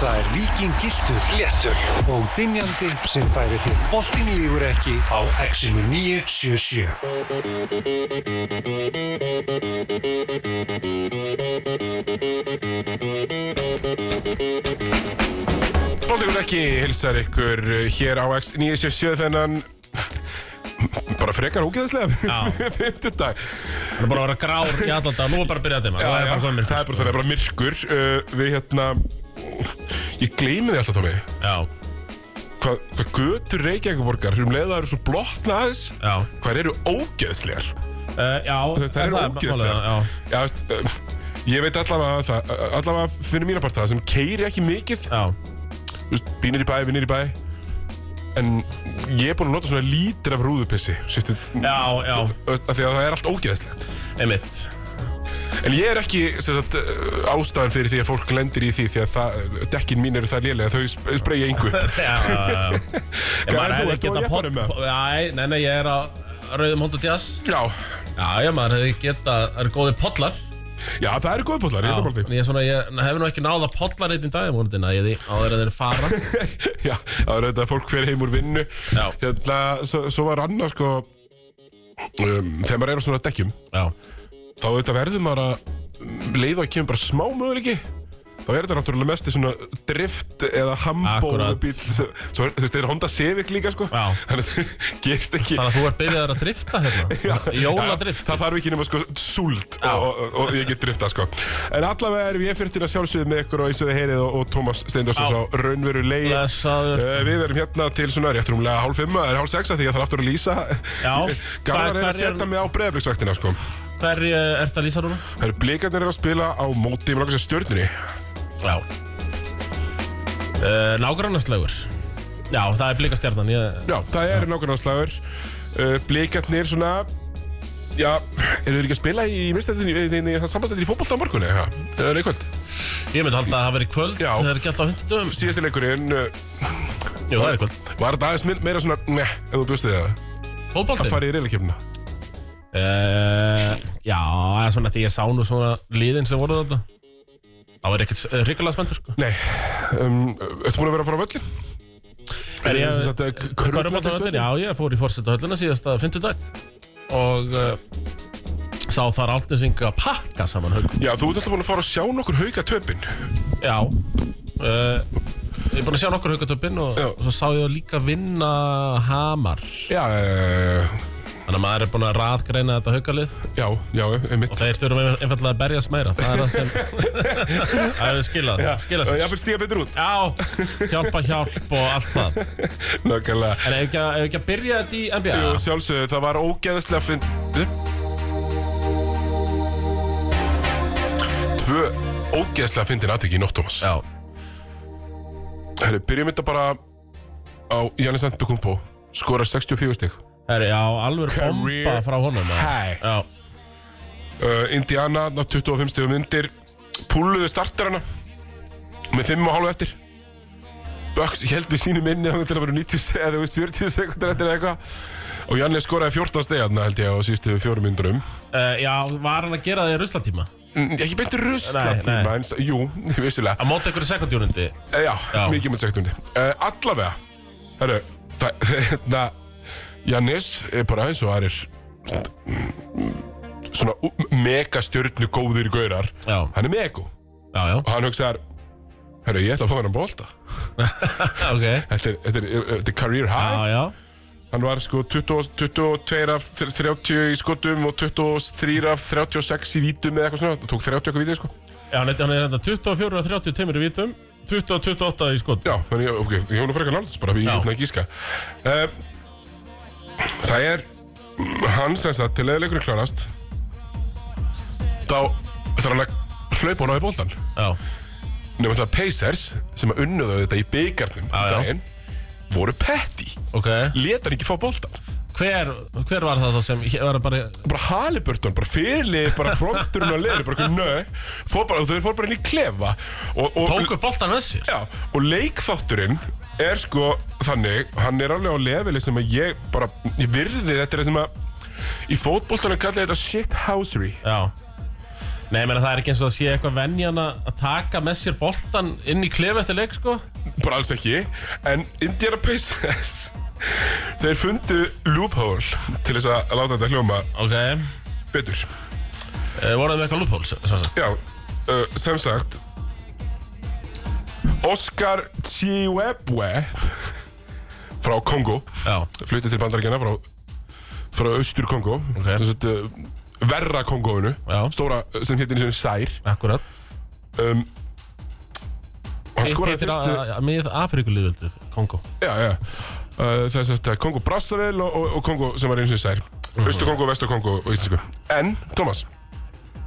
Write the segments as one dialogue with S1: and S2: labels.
S1: Það er vikingiltur, léttur og dinjandi sem færi þér boltin lífur ekki á Exinu 977.
S2: Bóndingur ekki hilsar ykkur uh, hér á X977 þennan bara frekar
S3: Já.
S2: ógeðislega fymtudag
S3: Það er bara að vera grár í allan dag Nú er bara að byrja að dema
S2: Já,
S3: Það er
S2: já,
S3: bara sko. komið
S2: það er bara, það er bara myrkur uh, Við hérna Ég gleymi því alltaf, Tómi
S3: Já,
S2: Hvað hva götur Reykjavíkuborgar um leiða eru svo blotna aðeins
S3: já
S2: Hvað eru ógeðslegar
S3: uh, Já,
S2: Þú veist, Það
S3: er
S2: eru
S3: bara málið,
S2: ógeðslegar
S3: Já,
S2: Já, þú veist uh, Ég veit allavega það uh, Allavega fyrir mína parta sem keiri ekki mikið
S3: já
S2: Þú veist, Bínir í bæ, vinnir í bæ En ég er búinn að nota svona lítir af rúðupissi Sýstu
S3: Já, já,
S2: Þú veist, af því að það er allt ógeðslegt
S3: einmitt
S2: En ég er ekki sem sagt, uh, ástæðan fyrir því að fólk lendir í því því að það, dekkin mín eru það lélega þau sp- spreyja yngu upp.
S3: Já, já, já Ég
S2: Hvað er þú?
S3: maður
S2: Ert
S3: hefði
S2: þú
S3: getað
S2: á jeppanum
S3: pod- Nei, nei, nei, ég er á Rauðum hóndu tjás
S2: Já,
S3: Já, já, maður hefði getað Það eru góði pollar
S2: já, það eru góð bóllar, ég er sammála
S3: en ég, svona, ég hefði nú ekki náða pollar eitt í dag vonandi, að ég því áður en þeir fara
S2: því. já, það eru þetta fólk fer heim úr vinnu.
S3: Já.
S2: Hérna, svo, svo var annað sko, um, þegar maður er á svona dekkjum,
S3: Já,
S2: þá auðvitað verður maður að leiða að kemur bara smá möguleiki. Þá er þetta náttúrulega mest í svona drift eða
S3: Akkúrat.
S2: hambólubíl. Svo, svo, er- þú veist, þeir eru Honda Civic líka sko.
S3: Já.
S2: Þannig að það gerist ekki.
S3: þannig að þú ert byrjaður að drifta hérna
S2: Já,
S3: Jóladrift
S2: Það þarf ekki nema sko súld
S3: Já.
S2: og, og, og ég get driftað sko En allavega erum ég fyrir til að sjálfsögðu með ykkur og eins og þið heyrið og, og Tómas Steindorsson
S3: Já.
S2: á raunveru leið
S3: Blessaður.
S2: Við verum hérna til svona rétt rúmlega hálf fimma eða hálf sexa því ég þarf aftur að lýsa
S3: Já.
S2: Garðar er
S3: Hvað- hvar
S2: að setja
S3: er-
S2: mig á breyðabliksvektina sko
S3: Hverju ert að lýsa núna?
S2: Það eru blikarnir eru að spila á móti með langast stjörnunni
S3: Já uh, Nágrannaslegur Já, það er blikastjarnan ég...
S2: Já, það er nákvæmlega slagur uh, Blikarnir svona Já, eru þeir ekki að spila í minnstættinni, það er samastættinni í fótbolta á morgunni, eða? Eða nei, kvöld?
S3: ég myndi halda að það veri kvöld
S2: Já.
S3: Það er ekki alltaf hundum
S2: Síðasti leikurinn, uh,
S3: Jú, það er kvöld
S2: Var þetta aðeins me- meira svona Meh, ef þú bjóst við það Að
S3: Fótboltinn
S2: fara í reylakefna
S3: uh, Já, það er svona því ég sá nú svona liðin sem voru þetta Það var ekkert uh, hrikalega spenntur sko
S2: Nei, um, ertu búin að vera að fara á völlin?
S3: Er ég Körfubolta
S2: Körfuboltavöllin?
S3: höllin, já, ég fór í fórseta höllina síðasta fymtudag og uh, sá þar Altnesinga að pakka saman haug.
S2: Já, þú ert alltaf búin að fara að sjá nokkur hauka töpin
S3: Já, uh, ég er búinn að sjá nokkur haugatöpinn og,
S2: Já.
S3: og svo sá ég líka vinna Hamar.
S2: Já, uh,
S3: Þannig að maður er búinn að raðgreina þetta haugalið
S2: já, já, einmitt
S3: og þeir þurfum ein- einfallega að berjast meira. Það er það sem, það er skilað, skilað
S2: Já,
S3: sér.
S2: fyrir stíga betur út
S3: Já, hjálpa hjálp og allt það.
S2: Nákvæmlega
S3: En ef ekki, að- ef ekki að byrja þetta í NBA?
S2: Og sjálfsögðu, það var ógeðslega finn Tvö ógeðslega fyndin aðtöki í nótt, Thomas
S3: Já,
S2: Herru, byrjum þetta bara á Jannis Antetokounmpo skorar 64 stig
S3: Herri, já, alveg bomba
S2: Career
S3: frá honum. maður.
S2: high.
S3: Já,
S2: uh, Indiana ná 25 stegum undir púluðu starterana með 5 og hálfu eftir Bucks held við sínum inni þangað til að vera 90 seg- eða þú veist 40 sekundar eftir eða eitthvað og Janni skoraði 14 stegarna held ég á sístu fjórum myndurum
S3: uh, já var hann að gera það í ruslatíma?
S2: ekki beinti rusla
S3: Nei, nei.
S2: tíma en s- jú, vissulega
S3: Að móta ykkur sekundjúrindi?
S2: Eh, já,
S3: Já.
S2: mikið mjög sektundi uh, allavega herru, það, hérna Jannis er bara eins og aðrir svona megastjörnu góðir gaurar
S3: Já,
S2: hann er mego
S3: já, já,
S2: og hann hugsaðar Herru, ég ætla að fá hann að bolta
S3: ok.
S2: Þetta er, þetta er, þetta er career high
S3: Já, já,
S2: Hann var sko 20, 22 af 30 í skotum og 23 af 36 í vítum eða eitthvað svona Það tók 30 eitthvað vítið sko
S3: já, hann er hann er hérna þetta 24 að 30 teimur í vítum, 20 að 28 í skot.
S2: Já, þannig ég, ok, ég hún að frekar náttúrulega bara Ég
S3: Já.
S2: hérna ekki íska uh, Það er Hann sem sagt, til eða leikurinn klárast Þá þarf hann að hlaupa hann á í boltan
S3: Já,
S2: Nefnum það Pacers sem að unnuðu þetta í byggarnum
S3: Já, já.
S2: daginn voru petty
S3: ok.
S2: leta hann ekki fá boltan
S3: Hver, hver var það þá sem, hér var það bara,
S2: bara Halliburton, bara fyrirlið bara fronturinn á liður, bara nö fór bara, þau fór bara inn í klefa og, og,
S3: tóku boltan með sér?
S2: já, og leikþátturinn er sko þannig, hann er alveg á leveli sem að ég bara, ég virði þetta er sem að í fótboltanum kalla ég þetta shithousery
S3: Já, Nei, ég meina það er ekki eins og það sé eitthvað venjan að að taka með sér boltan inn í klef eftir leik, sko.
S2: bara alls ekki en Indiana Pacers þeir fundu loophole til þess að láta þetta hljóma
S3: Ok, uh,
S2: betur
S3: voruð þið með eitthvað lúphóls, sem sagt.
S2: já, uh, sem sagt Oscar Chiwebwe frá Kongo
S3: Já,
S2: flutti til bandaríkjana frá, frá austur Kongo
S3: Ok.
S2: sagt, uh, verra Kongóinu
S3: Já.
S2: stóra uh, sem héttin sem sær
S3: akkurat.
S2: um, hann
S3: Eitt
S2: skoraði
S3: heitir
S2: fyrstu
S3: að- að- mið Afrikulíðveldið, Kongo.
S2: Já, já. Uh, það er þetta Kongo Brassavel og, og, og Kongo sem var eins og þessar.
S3: Mhm.
S2: Östu Kongo, Vestu Kongo og íslensku. En, Thomas,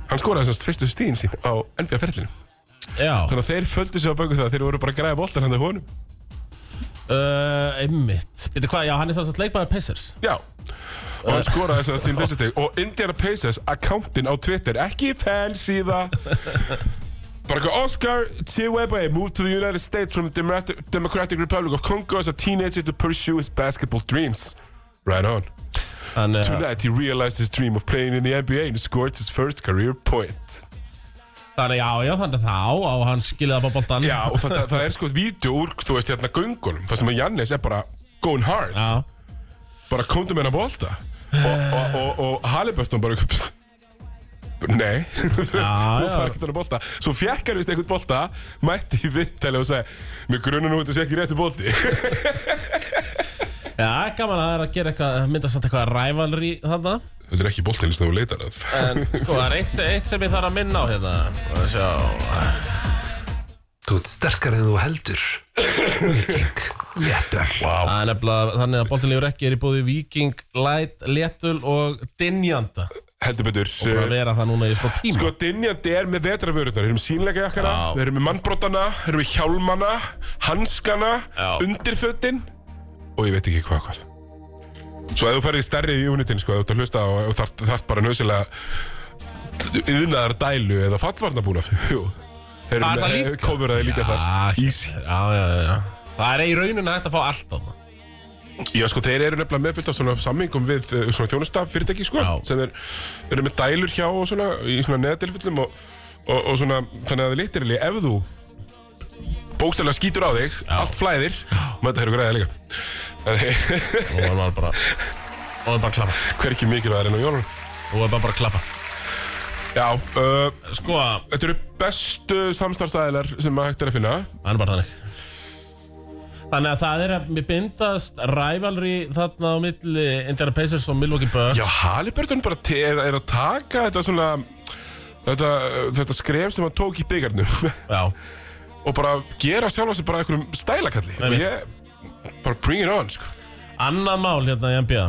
S2: hann skoraði þessast fyrstu stíðin sín á NBA-ferðlinu.
S3: Já,
S2: Þannig að þeir földu sig á böngu það, þeir voru bara að græða boltan hann þegar honum.
S3: uh, einmitt. Veitu hvað, já, hann er sannsagt leikmaður Pacers.
S2: Já. Og hann skoraði þessast sín fyrstu stíð. Og Indiana Pacers, accountin á Twitter, ekki fansíða. Bara eitthvað, Oscar Tshiwebe moved to the United States from Democratic Democratic Republic of Congo as a teenager to pursue his basketball dreams. Right on.
S3: Hann, uh,
S2: Tonight he realized his dream of playing in the NBA and scored his first career point.
S3: þannig, já, já, þannig að þá á hann skiljaði bara boltan.
S2: Já, og það, það er sko vídeo úr, þú veist, hérna göngunum, þar sem að Jannis er bara going hard,
S3: Já,
S2: bara kóndum hennar bolta. Og, og, og, og Halliburton bara, pst, nei, þú
S3: já.
S2: fær ekkert hennar bolta. Svo fjekkar vist einhvern bolta, mætti í vittæli og sagði, mér grunnar nú að þetta sé ekki réttu bolti.
S3: já, gaman að það er að gera eitthvað, mynda samt eitthvað rævalri þarna.
S2: þetta er ekki boltin sem þú leitar að.
S3: En, sko, það er eitt, eitt sem ég þarf að minna á hérna. Og sjá,
S1: Þú ert sterkar en þú heldur Viking Léttöl
S2: Vá,
S3: Það er nefnilega þannig að boltinlegur ekki er í bóði Viking, Light, Letul og Dinjanda og
S2: heldur betur.
S3: bara
S2: eh,
S3: að vera það núna í smá tíma
S2: Sko, dynjandi er með vetrarvörurnar, við erum sínleika jakkana,
S3: Já.
S2: við erum með mannbrotana, við erum með hjálmana, hanskana,
S3: Já.
S2: undirfötin og ég veit ekki hvað hvað. Svo ef þú ferði stærri í unitin, sko, ef þú ert að hlusta og þart, þart bara nöðsilega yðnaðar dælu eða fallvarnabúnaf, jú. Erum,
S3: Það er það líka.
S2: Komur það líka þar. Easy.
S3: Ah, Já, já, já, já Það er í rauninu hægt að fá allt á það
S2: Já, sko, þeir eru nefnilega meðfyllt af svona sammingum við eh, svona þjónustaf fyrirtæki, sko,
S3: Já.
S2: sem þeir eru með dælur hjá og svona, í svona neðatilfellum og, og, og svona, þannig að það lítir alveg, ef þú bókstæðlega skýtur á þig, allt flæðir, maður þetta eru græða líka. Þannig,
S3: Og hann var bara Og hann bara að klappa
S2: hver ekki mikilvæðar enn á jólunum.
S3: Og hann bara bara að klappa
S2: Já, uh,
S3: Sko, hann
S2: þetta eru bestu samstarfstæðilar sem að hægt er að finna.
S3: er bara þannig Þannig að það er að mér bindast rævalri þarna á milli Indiana Pacers og Milwaukee Bucks
S2: Já, Halliburton bara te- er, er að taka þetta svona, þetta, þetta skref sem hann tók í byggarnum.
S3: Já,
S2: og bara gera sjálf sig bara einhverjum stælakalli og
S3: mitt.
S2: ég bara bring it on sko.
S3: annað mál hérna í NBA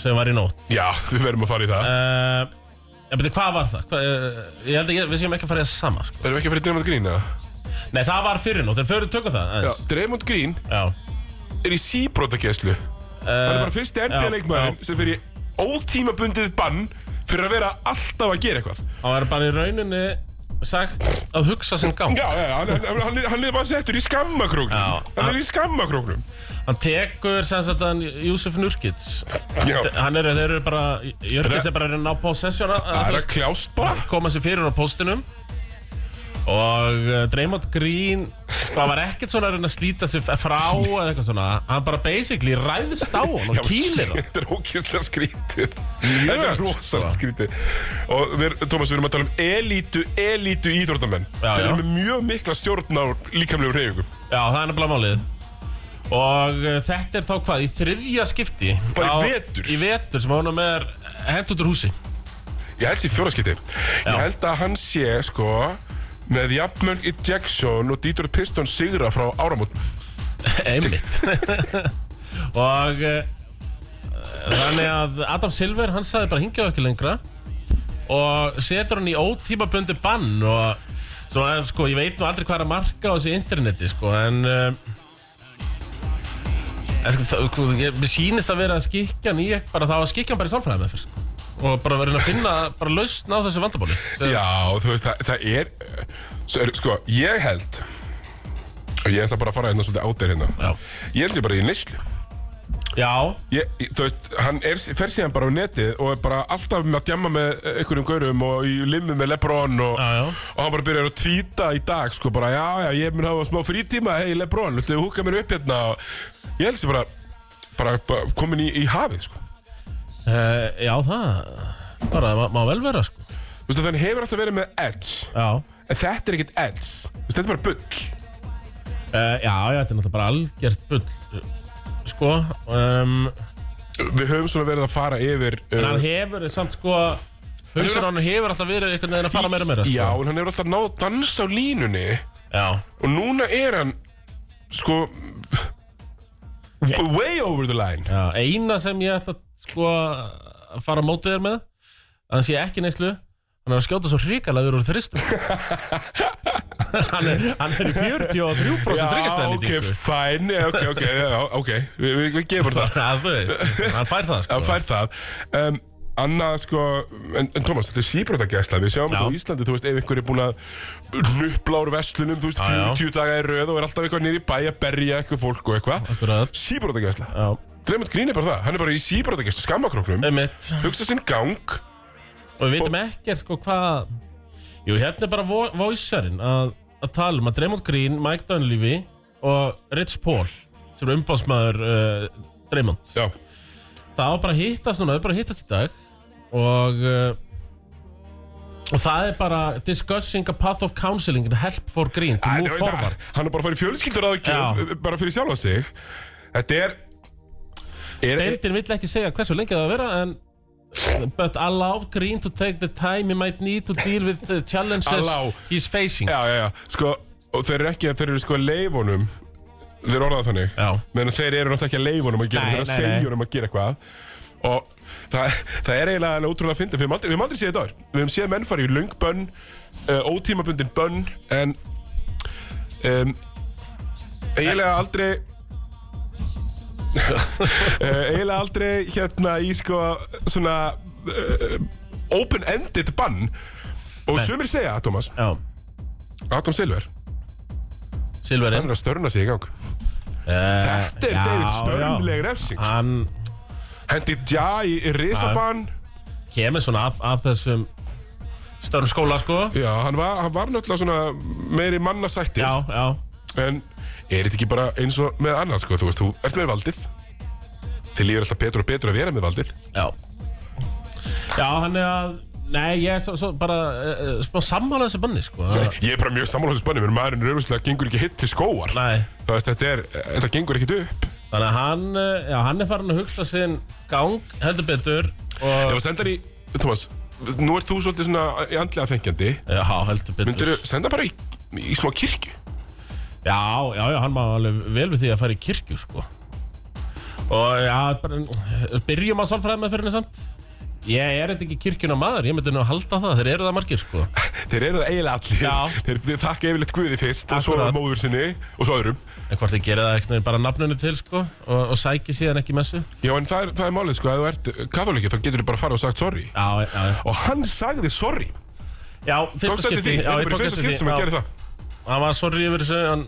S3: sem var í nótt
S2: já, við verðum að fara í það uh.
S3: uh, Ég veit, hvað var það? Hva, uh, ég held ekki, við séum ekki að fara í það sama sko.
S2: erum við ekki að fara í Draymond Green eða?
S3: Nei, það var fyrir nótt, en fyrir tökum það
S2: já,
S3: aðeins.
S2: Draymond Green
S3: Já. Eh,
S2: er í síbrótakeslu hann
S3: Það
S2: er bara fyrsti NBA leikmaður sem fyrir ótímabundið bann fyrir að vera alltaf að gera eitthvað
S3: Hann var bara í rauninni sagt að hugsa sem gang.
S2: já, já, já, hann, hann, hann, er- hann er bara settur í
S3: Já.
S2: skammakróknum hann er í skammakróknum
S3: Hann tekur sem sagt hann Júsef Nurkic.
S2: já,
S3: Hann eru, þeir eru bara, Jörgis er bara að reyna á possessiona.
S2: það er að kljást bara
S3: Koma sér fyrir á postinum. Og uh, Draymond Green, það var ekkert svona að reyna að slíta sig frá eða eitthvað svona. Hann bara basically ræðist á hann og kýlir hann.
S2: Þetta er ókýrslega skrítið Þetta er rosalega
S3: sko.
S2: skrítið Og við, Tómas, við erum að tala um elítu, elítu íþórtamenn
S3: Já,
S2: Þeir
S3: já.
S2: eru með mjög mikla stjórn á líkamlegu reyfingum
S3: Já, það er nefnilega málið Og uh, þetta er þá hvað, í þriðja skipti
S2: Bara í
S3: á-
S2: vetur.
S3: Í vetur sem honum er hent út úr húsi
S2: Ég held sér fjóraskipti Ég held að hann sé, sko Með jafnmörg Ejection og Detroit Pistons sigra frá áramót
S3: Einmitt Og uh, Þannig að Adam Silver, hann sagði bara hingjaðu ekki lengra Og setur hann í ótímabundi bann Og svo, eh, sko, ég veit nú aldrei hvað er að marka á þessu interneti, sko En uh, en, sko, það- sko, ég- Mér sýnist að vera að skikja hann í bara, Það var að skikja hann bara í sálfræði með fyrst sko. Og bara verið að finna bara lausn á þessu vandabóli
S2: Já, þú veist, það, það er svo er, Sko, ég held Og ég ætla bara að fara hérna svolítið át þér hérna
S3: Já,
S2: Ég held sér bara í neyslu
S3: Já,
S2: Ég, ég- þú veist, hann er, fer síðan bara á netið og er bara alltaf með að djamma með eh, einhverjum gaurum og í limmi með Lebron og,
S3: Já, já.
S2: og hann bara byrjar að tvíta í dag, sko, bara, já, já, ég mun hafa smá frítíma, hei Lebron, viltu húka mér upp hérna og ég helst ég bara, bara, bara komin í, í hafið, sko.
S3: uh, já það bara má, má vel vera sko
S2: Þú veist, þannig hefur alltaf verið með edge,
S3: Já, uh,
S2: en þetta er ekkert edge, þú veist, þetta er bara bull.
S3: Eh, já, já, þetta er náttúrulega bara algjört bull sko um,
S2: Við höfum svona verið að fara yfir... eh,
S3: en hann hefur samt sko hausur hann hefur alltaf verið einhvern veginn að fara meira og meira sko.
S2: Já, en hann hefur alltaf náð að dansa á línunni.
S3: já,
S2: Og núna er hann Sko Way over the line
S3: já, eina sem ég ætla sko að fara á mótið þér með að hann sé ekki neyslu hann er að skjóta svo hrikalegur úr þristu hann, er, hann er í 43%
S2: Já,
S3: hrikastæðin
S2: ok, fine Já, Ok, ok, já, ok Við vi, vi gefur það
S3: það, þú veist, hann fær það sko
S2: Það fær það um, Annað, sko En, en Thomas, þetta er síbrótagæsla Við sjáum þetta á
S3: Já.
S2: Íslandi Þú veist, ef einhver er búinn að Nupla úr verslunum Þú veist,
S3: Já, já.
S2: 40 daga í röð Og er alltaf eitthvað nýri bæ að berja eitthvað fólk og eitthvað
S3: Akkurat,
S2: Síbrótagæsla
S3: já,
S2: Dremund Grín er bara það Hann er bara í síbrótagæsla Skammakróknum
S3: emitt
S2: Hugsa sinn gang
S3: Og við veitum ekkert sko hvað Jú, hérna er bara vo voicearinn að, að tala um að Draymond Green, Mike Dunleavy og Rich Paul sem er umbásmaður uh, Draymond
S2: Já
S3: Það á bara að hittast núna, það er bara að hittast í dag og uh, og það er bara discussing a path of counseling and help for Green to
S2: Æ,
S3: move
S2: þetta-
S3: forward
S2: Hann er bara að fara í fjölskyldur aðgjöf bara fyrir sjálfa sig Þetta er Er, er,
S3: Deildin vill ekki segja hversu lengi það á að vera en But allow Green to take the time he might need to deal with the challenges
S2: Allow.
S3: he's facing
S2: já, já, já, sko og þeir eru ekki að þeir eru sko að leifunum þeir eru orðað þannig
S3: Já.
S2: meðan þeir eru náttúrulega ekki að leifunum að gera þeir
S3: Nei,
S2: eru að
S3: nei, nei.
S2: segja honum að gera eitthvað og það, það er eiginlega alveg ótrúlega fyndið fyrir við höfum aldrei, við höfum aldrei séð þetta ár við höfum séð menn fara í löng bönn uh, ótímabundin bönn en um, eiginlega aldrei Eh, eiginlega aldrei hérna í sko svona uh, open-ended bann og sumir segja, Thomas,
S3: Já,
S2: Adam Silver
S3: Silverinn
S2: hann er að störna sig í gang Þetta er David Störnleg refsing sko.
S3: Eh, Hann
S2: Hendi Dja í í risabann
S3: kemur svona af, af þessum störn skóla sko
S2: Já, hann var, hann var náttúrulega svona meiri mannasættir
S3: Já, já
S2: En er þetta ekki bara eins og með annað sko Þú veist, þú ert með valdið Þið líður alltaf betur og betur að vera með valdið
S3: Já Já, hann er að Nei, ég er svo, svo bara uh, smá sammála þessu banni sko að-
S2: Ég er bara mjög sammálaðsins bannum En maðurinn raunvæslega gengur ekki hitt til skóar
S3: Nei,
S2: Það veist, þetta er, þetta gengur ekkit upp
S3: þannig að hann eh, Já, hann er farin að hugsa sinn gang heldur betur
S2: Ef
S3: og,
S2: að senda hann í, Thomas Nú ert þú svolítið svona í andlega þengjandi
S3: Já, heldur betur
S2: Myndirðu senda bara í, í smá kirkju
S3: Já, já, já, hann má alveg vel við því að fara í kirkju, sko. Og já, bara, byrjum að sálfræða með fyrir henni samt. Ég er þetta ekki kirkjuna maður, ég myndi nú að halda það, þeir eru það margir, sko.
S2: Þeir eru það eiginlega allir
S3: Já.
S2: Þeir, þeir þakka yfirleitt Guði fyrst og svo
S3: Akkurat.
S2: móður sinni og svo öðrum
S3: En hvort þeir gera það ekkert neginn bara nafnunni til, sko, og, og sæki síðan ekki messu.
S2: Já en það er, það er málið sko, ef þú ert katholikið þá getur þú bara farið og sagt sorry
S3: Já, já, já.
S2: Og hann sagði sorry
S3: Já, fyrsta
S2: Tókst þetta því,
S3: já,
S2: þetta er
S3: ég
S2: bara
S3: tók
S2: fyrsta
S3: eftir
S2: skipt sem
S3: já.
S2: hann gerir það
S3: Hann var sorry yfir þessu, hann,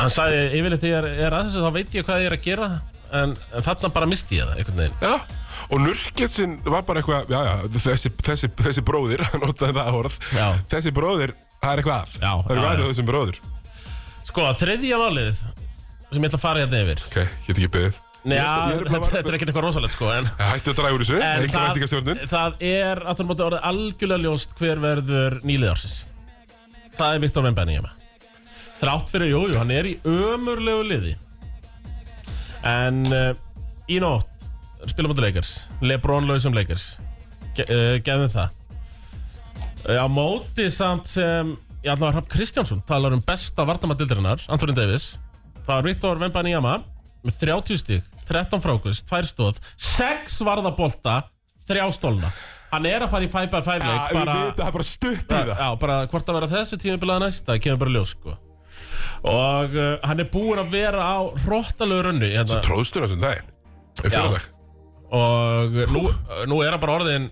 S3: hann sagði yfirleitt þegar ég er að þessu, þá veit ég hvað ég er að gera, en, en þarna bara misti ég það, einhvern veginn.
S2: Já Og Nurketsinn var bara eitthvað, já já, þessi, þessi, þessi bróðir, hann notaði það orð
S3: Já.
S2: Þessi bróðir, það er eitthvað að
S3: Já,
S2: Það er
S3: já,
S2: eitthvað að
S3: já.
S2: hjá þessum bróðir
S3: Sko, þriðja málið sem ég ætla að fara hérna yfir.
S2: Ok, get ekki beðið
S3: Nei,
S2: Ég held að- ég er
S3: já,
S2: bara- Eh,
S3: þetta er ekkert eitthvað rosalegt sko En,
S2: Hættu að draga úr þessu,
S3: en
S2: einhver vendingastjórnun
S3: það er aftur á móti orðið algjörlega ljóst hver verður nýlið ársins Það er Viktor Vembenning hjá Þrátt fyrir, jú, jú, hann er í ömurlegu liði En uh, í nótt spilum átta leikars Lebron lausum leikars Ge uh, Gefum það Eh, Á móti samt sem Ég ætla að Hrafn Kristjánsson talar um besta vartamardildirinnar, Antonin Davis Það var Viktor Vembaniyama með 30 stík, 13 frákust, 2 stóð 6 varðabolta 3 stólna Hann er að fara í 5x5
S2: Já,
S3: leik
S2: við veitum, það er bara stutt í það
S3: Já, bara hvort að vera þessu tímabilaða næsta það kemur bara ljós sko og uh, hann er búinn að vera á hróttalegu runni hérna,
S2: Tróðstuna sem daginn, um
S3: Já.
S2: fjóraðag
S3: og nú, nú er hann bara orðin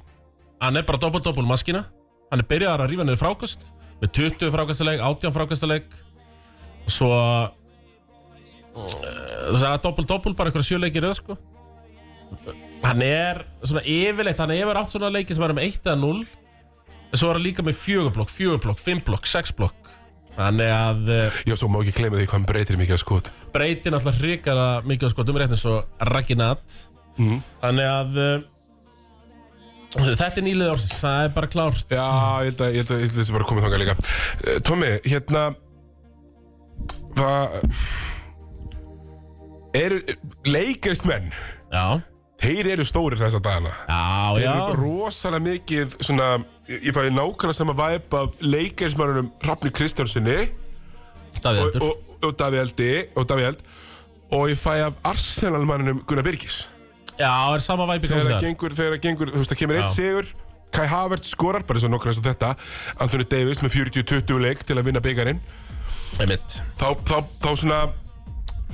S3: hann er bara doppel-doppel maskina hann er byrjaðar að rífa niður frákast með 20 frákastaleg, 18 frákastaleg og svo eh, það er doppel-doppel, bara einhverja sjöleikir öð, sko. Hann er svona yfirleitt, hann hefur átt svona leiki sem er um 1 eða 0 en svo er hann líka með fjögurblokk, fjögurblokk, fimmblokk, sexblokk Þannig að eh,
S2: Já, svo má ekki gleyma því hvað hann breytir mikið að skot
S3: breytir náttúrulega hrikara mikið á skotum rétt eins og Raginat
S2: Mhm.
S3: Þannig að eh, þetta er nýlið ársins, það er bara klárt
S2: Já, ég held að, ég held að, ég held að þessi bara komið þangað líka Eh, Tommi, hérna Það Eru leikarist menn
S3: Já,
S2: Þeir eru stórir þessa dagana
S3: já,
S2: Þeir
S3: já
S2: eru rosalega mikið svona Ég ég fæði nákvæmlega sama væp af leikarismannunum Rafni Kristjánssoni og,
S3: Davíð Eldur
S2: og, og Davíð Eldi og Davíð Eld og ég fæ af Arsenalmannunum Gunnar Birgis
S3: Já, er sama væpi
S2: þegar það
S3: gangi þar
S2: gengur, þegar það gengur, þú veist, það kemur eitt
S3: Já.
S2: sigur Kai Havertz skorar bara eins og nokkar eins og þetta Anthony Davis með 40-20 leik til að vinna byggarinn
S3: Einmitt
S2: þá, þá, þá svona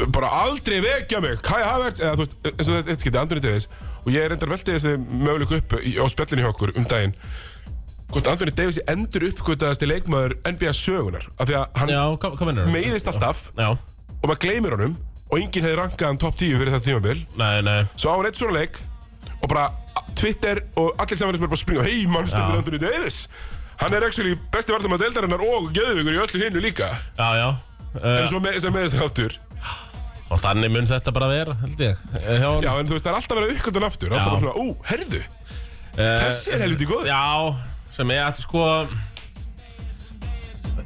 S2: bara aldrei vekja mig Kai Havertz, eða þú veist, eins og þetta- þetta skipti Anthony Davis og ég reyndar veltið þessi möguleik upp í- á spjallinu hjá okkur um daginn hvort Anthony Davis er endur uppgötaðasti leikmaður NBA sögunar af því að hann
S3: Já, hvað hvað mennur
S2: meiðist alltaf
S3: hérna. Já,
S2: og maður gleymir honum og enginn hefði rankað hann top 10 fyrir þetta tímabil
S3: nei, nei
S2: Svo á hann eitt svona leik og bara Twitter og allir samfélagsmiðlar bara springa Hei, mannstu
S3: Já.
S2: fyrir Anthony Davis Hann er actually besti vartum að deildarinnar og geðvigur í öllu hinnu líka
S3: Já, já
S2: En
S3: Uh,
S2: svo með, sem með þessar aftur
S3: og þannig mun þetta bara vera, held ég Eh, hjá honum.
S2: Já, en þú veist, það er alltaf verið uppkvöndan aftur Alltaf
S3: Já.
S2: bara svona, ú, herðu
S3: Eh,
S2: Þessi er helviti góð
S3: Já, sem ég ætti sko að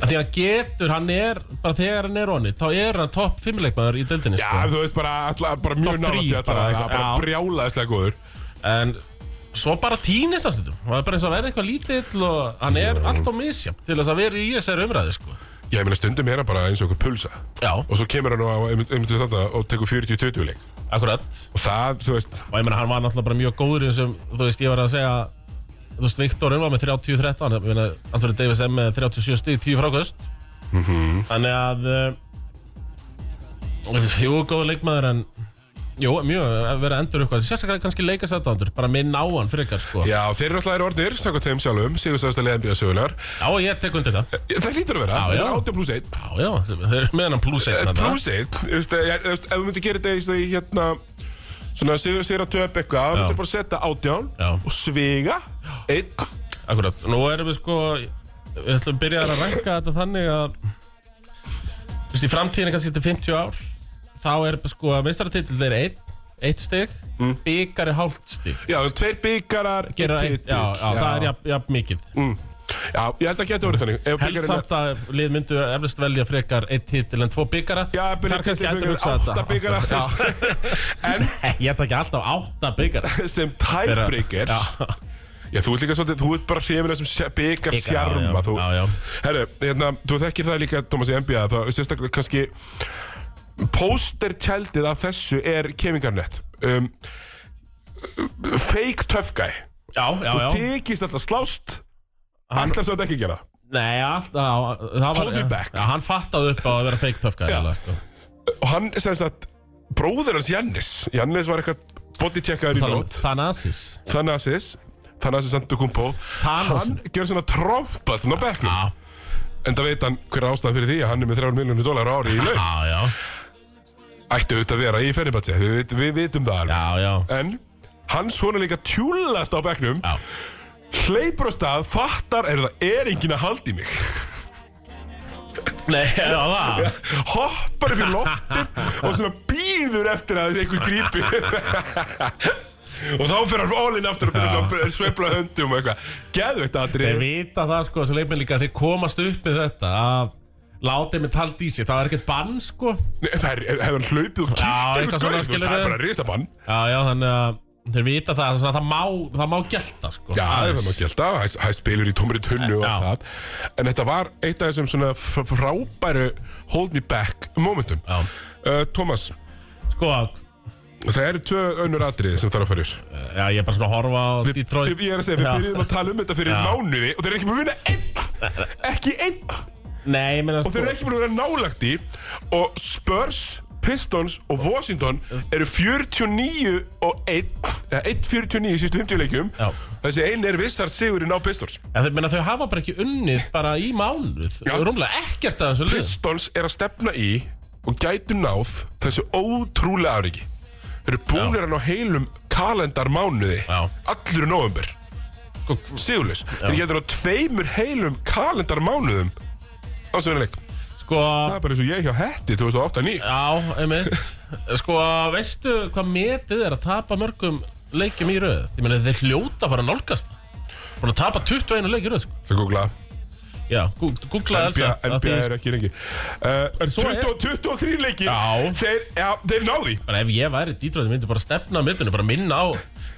S3: því hann getur, hann er bara þegar hann er onni, þá er hann topp fimmleikmaður í deildinni
S2: Já,
S3: sko.
S2: þú veist, bara, alla, bara mjög
S3: Top
S2: nálægt í
S3: three,
S2: þetta
S3: bara
S2: bara,
S3: eitthvað,
S2: bara
S3: já.
S2: brjálaðislega góður
S3: en svo bara týnist það stundum hann er bara eins og verði eitthvað lítill og hann er allt á misjum til þess að vera í þessari umræði sko.
S2: Já, ég meina, stundum er hann bara eins og okkur pulsa
S3: Já,
S2: Og svo kemur hann á, einmitt einmitt við þetta og tekur 40-20 leik
S3: akkurat
S2: Og það, þú veist,
S3: og ég meina hann var náttúrulega bara mjög góður í þessum, þú veist, ég var að segja þú veist, Viktorinn var með 30-13 ég meina, Anthony Davis er með 37 stíð 10 frákvöst þannig að uh, jú, góður leikmaður en jú, mjög, að vera endur eitthvað sérstaklega kannski leika sættandur, bara minna á hann frekar sko,
S2: já, þeir eru alltaf þeir orðnir Sækvað þeim sjálfum, sigur sæðasta leiðanbíða sögunar
S3: já, ég tek undir það
S2: Það hlýtur að vera,
S3: Já,
S2: það er
S3: já.
S2: 18 pluss 1
S3: já, já, þeir eru með hann plus 1
S2: Plus 1, þú veist, eh, ég- þú veist, ef þú myndir gera þetta í svona í hérna Svona sigur sigur að töp eitthvað, þá
S3: Já.
S2: myndir bara setja 18
S3: Já.
S2: Og sviga, 1
S3: Akkurat, nú erum við sko Við ætlum að byrja að ranka þetta þannig að Þú veist, í framtíðinu kannski til 50 ár Þá er sko að meistaratitil er eitt, eitt stig mm. Byggar er hálft stig
S2: Já, tveir byggarar,
S3: Gerir eitt, já, já, það er jafn, jafn mikið
S2: mm. já, ég held að geta orðið þannig Ef
S3: Held
S2: byggarinn er,
S3: samt að lið myndu eflust velja frekar eitt titil en tvo byggara
S2: já, byrja
S3: kannski
S2: til
S3: endur
S2: byggarar,
S3: hugsa þetta
S2: 8 byggarar þú
S3: Já,
S2: veist. En
S3: Ég ætla ekki alltaf átta byggara
S2: sem tiebreaker
S3: Já,
S2: já. þú ert líka svolítið, þú ert bara hrifin af þessum byggar
S3: já,
S2: sjarma þú-
S3: já, já.
S2: Herru, hérna, þú þekkir það líka, Thomas, í NBA, það sérstaklega kannski póstertjaldið af þessu er kemingarnett. Um, fake tough guy.
S3: já, já, já.
S2: Þykist þetta slást, ætlar sem þetta ekki að gera. það.
S3: Nei, alltaf það var,
S2: Hold me back.
S3: Já, Hann fattaði upp á að vera fake tough guy eiginlega, sko.
S2: Og hann, sem sagt, bróður hans Jannis, Jannis var eitthvað bodycheckaður í
S3: tala um
S2: nót,
S3: Thanasis
S2: Thanasis, Thanasis Antetokounmpo,
S3: Thanos. Ah.
S2: hann gjör svona trompast hann á bekknum.
S3: Já,
S2: En það veit hann hver er ástæðan fyrir því að hann er með 3 miljónir dólar ári í laun.
S3: já, já,
S2: Ætti auðvitað að vera í Fenerbahce, við, við, við vitum það alveg.
S3: já, já
S2: En hann svona líka tjúlast á bekknum
S3: Já.
S2: Hleypur á stað, fattar Er það er enginn að halda í mig
S3: Nei, já, það
S2: Hoppar upp í loftið Og svona býður eftir að þessi einhver grípi Og þá fyrir hann all in aftur Og byrjar svona að sveifla höndum og eitthvað Geðveitt aðri
S3: Þeir vita það sko, þessi leikmenn líka Þeir komast upp með þetta að Látið með tald í sig, það er ekkert bann sko Já,
S2: Það er, hefur hann hlaupið og kýrt
S3: eitthvað
S2: einhver
S3: svona,
S2: gauð þú veist,
S3: skilurðu.
S2: Það er bara risabann
S3: já, þannig að Þeir vita það, það, það má, það má gelta
S2: Já,
S3: sko
S2: það er
S3: Aðeins.
S2: það maður gælt af, hæ spilur í tómri tunnu og
S3: Já.
S2: allt það En þetta var eitt af þessum svona fr- frábæru hold me back momentum
S3: Já.
S2: uh, Thomas,
S3: Sko,
S2: það eru tvö önnur atriði sem þarf að fara yfir
S3: já, ég er bara svona að horfa á Detroit
S2: Ég er að segja, við
S3: Já.
S2: byrjum að tala um þetta fyrir
S3: Já.
S2: mánuði og þeir eru ekki búin að vinna einn Ekki einn Og
S3: Nei, ég meina sko,
S2: þeir eru ekki búin að vera nálagt í Og Spurs, Pistons og Washington eru 49 og 1 Eða 1.49 í sístu 50 leikjum
S3: Já.
S2: Þessi einn er vissar sigurinn á Pistons
S3: Já, þeir, meina, þau hafa bara ekki unnið bara í mánuð
S2: Já.
S3: Rúmlega ekkert af þessu lið
S2: Pistons er að stefna í og gætu náð þessu ótrúlega áriki Þeir eru búinir að ná heilum kalendarmánuði
S3: Já.
S2: allur í nóvember Sigurlaus, þeir eru gætu ná tveimur heilum kalendarmánuðum á þessu leik
S3: Sko,
S2: Það er bara eins og ég hjá Hetti 2008-2009
S3: já, einmitt Sko, veistu hvað metið er að tapa mörgum leikjum í röð? Ég meina þeir hljóta að fara að nálgast Búin að tapa 21 leik í röð sko.
S2: Það googla
S3: Já, gú- googlaði
S2: NBA,
S3: Elsa að
S2: NBA
S3: því- sko,
S2: er ekki lengi uh, er
S3: Svo er-
S2: 20, 23 leikir
S3: Já.
S2: þeir, ja, þeir náði
S3: Bara ef ég væri dýtráði myndi bara stefna að myndinu, bara minna á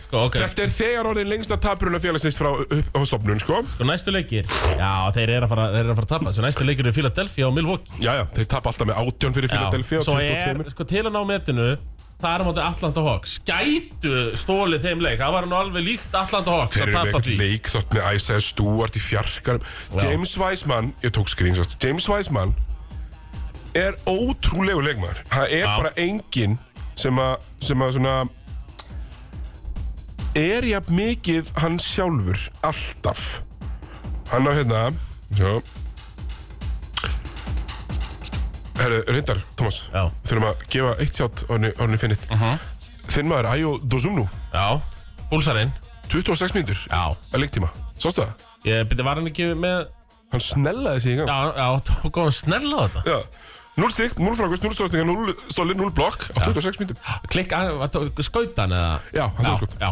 S3: Sko, ok,
S2: Þetta er þegar orðin lengsta tapuruna félagsins frá uppstofnun, sko
S3: sko næstu leikir Já, þeir eru að fara, þeir eru að, fara að tapa Svo næstu leikir eru Philadelphia og Milwaukee
S2: Jæja, þeir tapa alltaf með 18 fyrir Philadelphia og
S3: Svo er,
S2: 22
S3: sko, til að ná metinu Það er á móti Atlanta Hawks Gætu stólið þeim leik Það var nú alveg líkt Atlanta Hawks
S2: Þeir eru
S3: að
S2: með
S3: tapa
S2: eitthvað
S3: því
S2: leik þátt með Isaiah Stewart í fjarkarum James Wiseman, ég tók screenshot James Wiseman er ótrúlegu leikmaður Það er bara enginn sem að sem að svona er jafn mikið hann sjálfur alltaf Hann á hérna Sjá Herru, reyndar, Thomas
S3: Já. Mhm.
S2: Þurfum að gefa eitt sjátt orðinni finnit uh -huh. Þinn maður, Ayo Dozumnu
S3: Já, búlsarinn
S2: 26 mínútur
S3: Já
S2: að leiktíma Sástu það?
S3: Ég byrja var hann ekki með Já,
S2: Hann snellaði sig í gang
S3: já, tók hann snell á þetta
S2: Já 0 stík, 0 frákust, 0 stóðstingar, 0 stólir, 0 blokk á 26 mínútum
S3: Klikk, skauta hann eða
S2: Já, hann tók skot
S3: Já,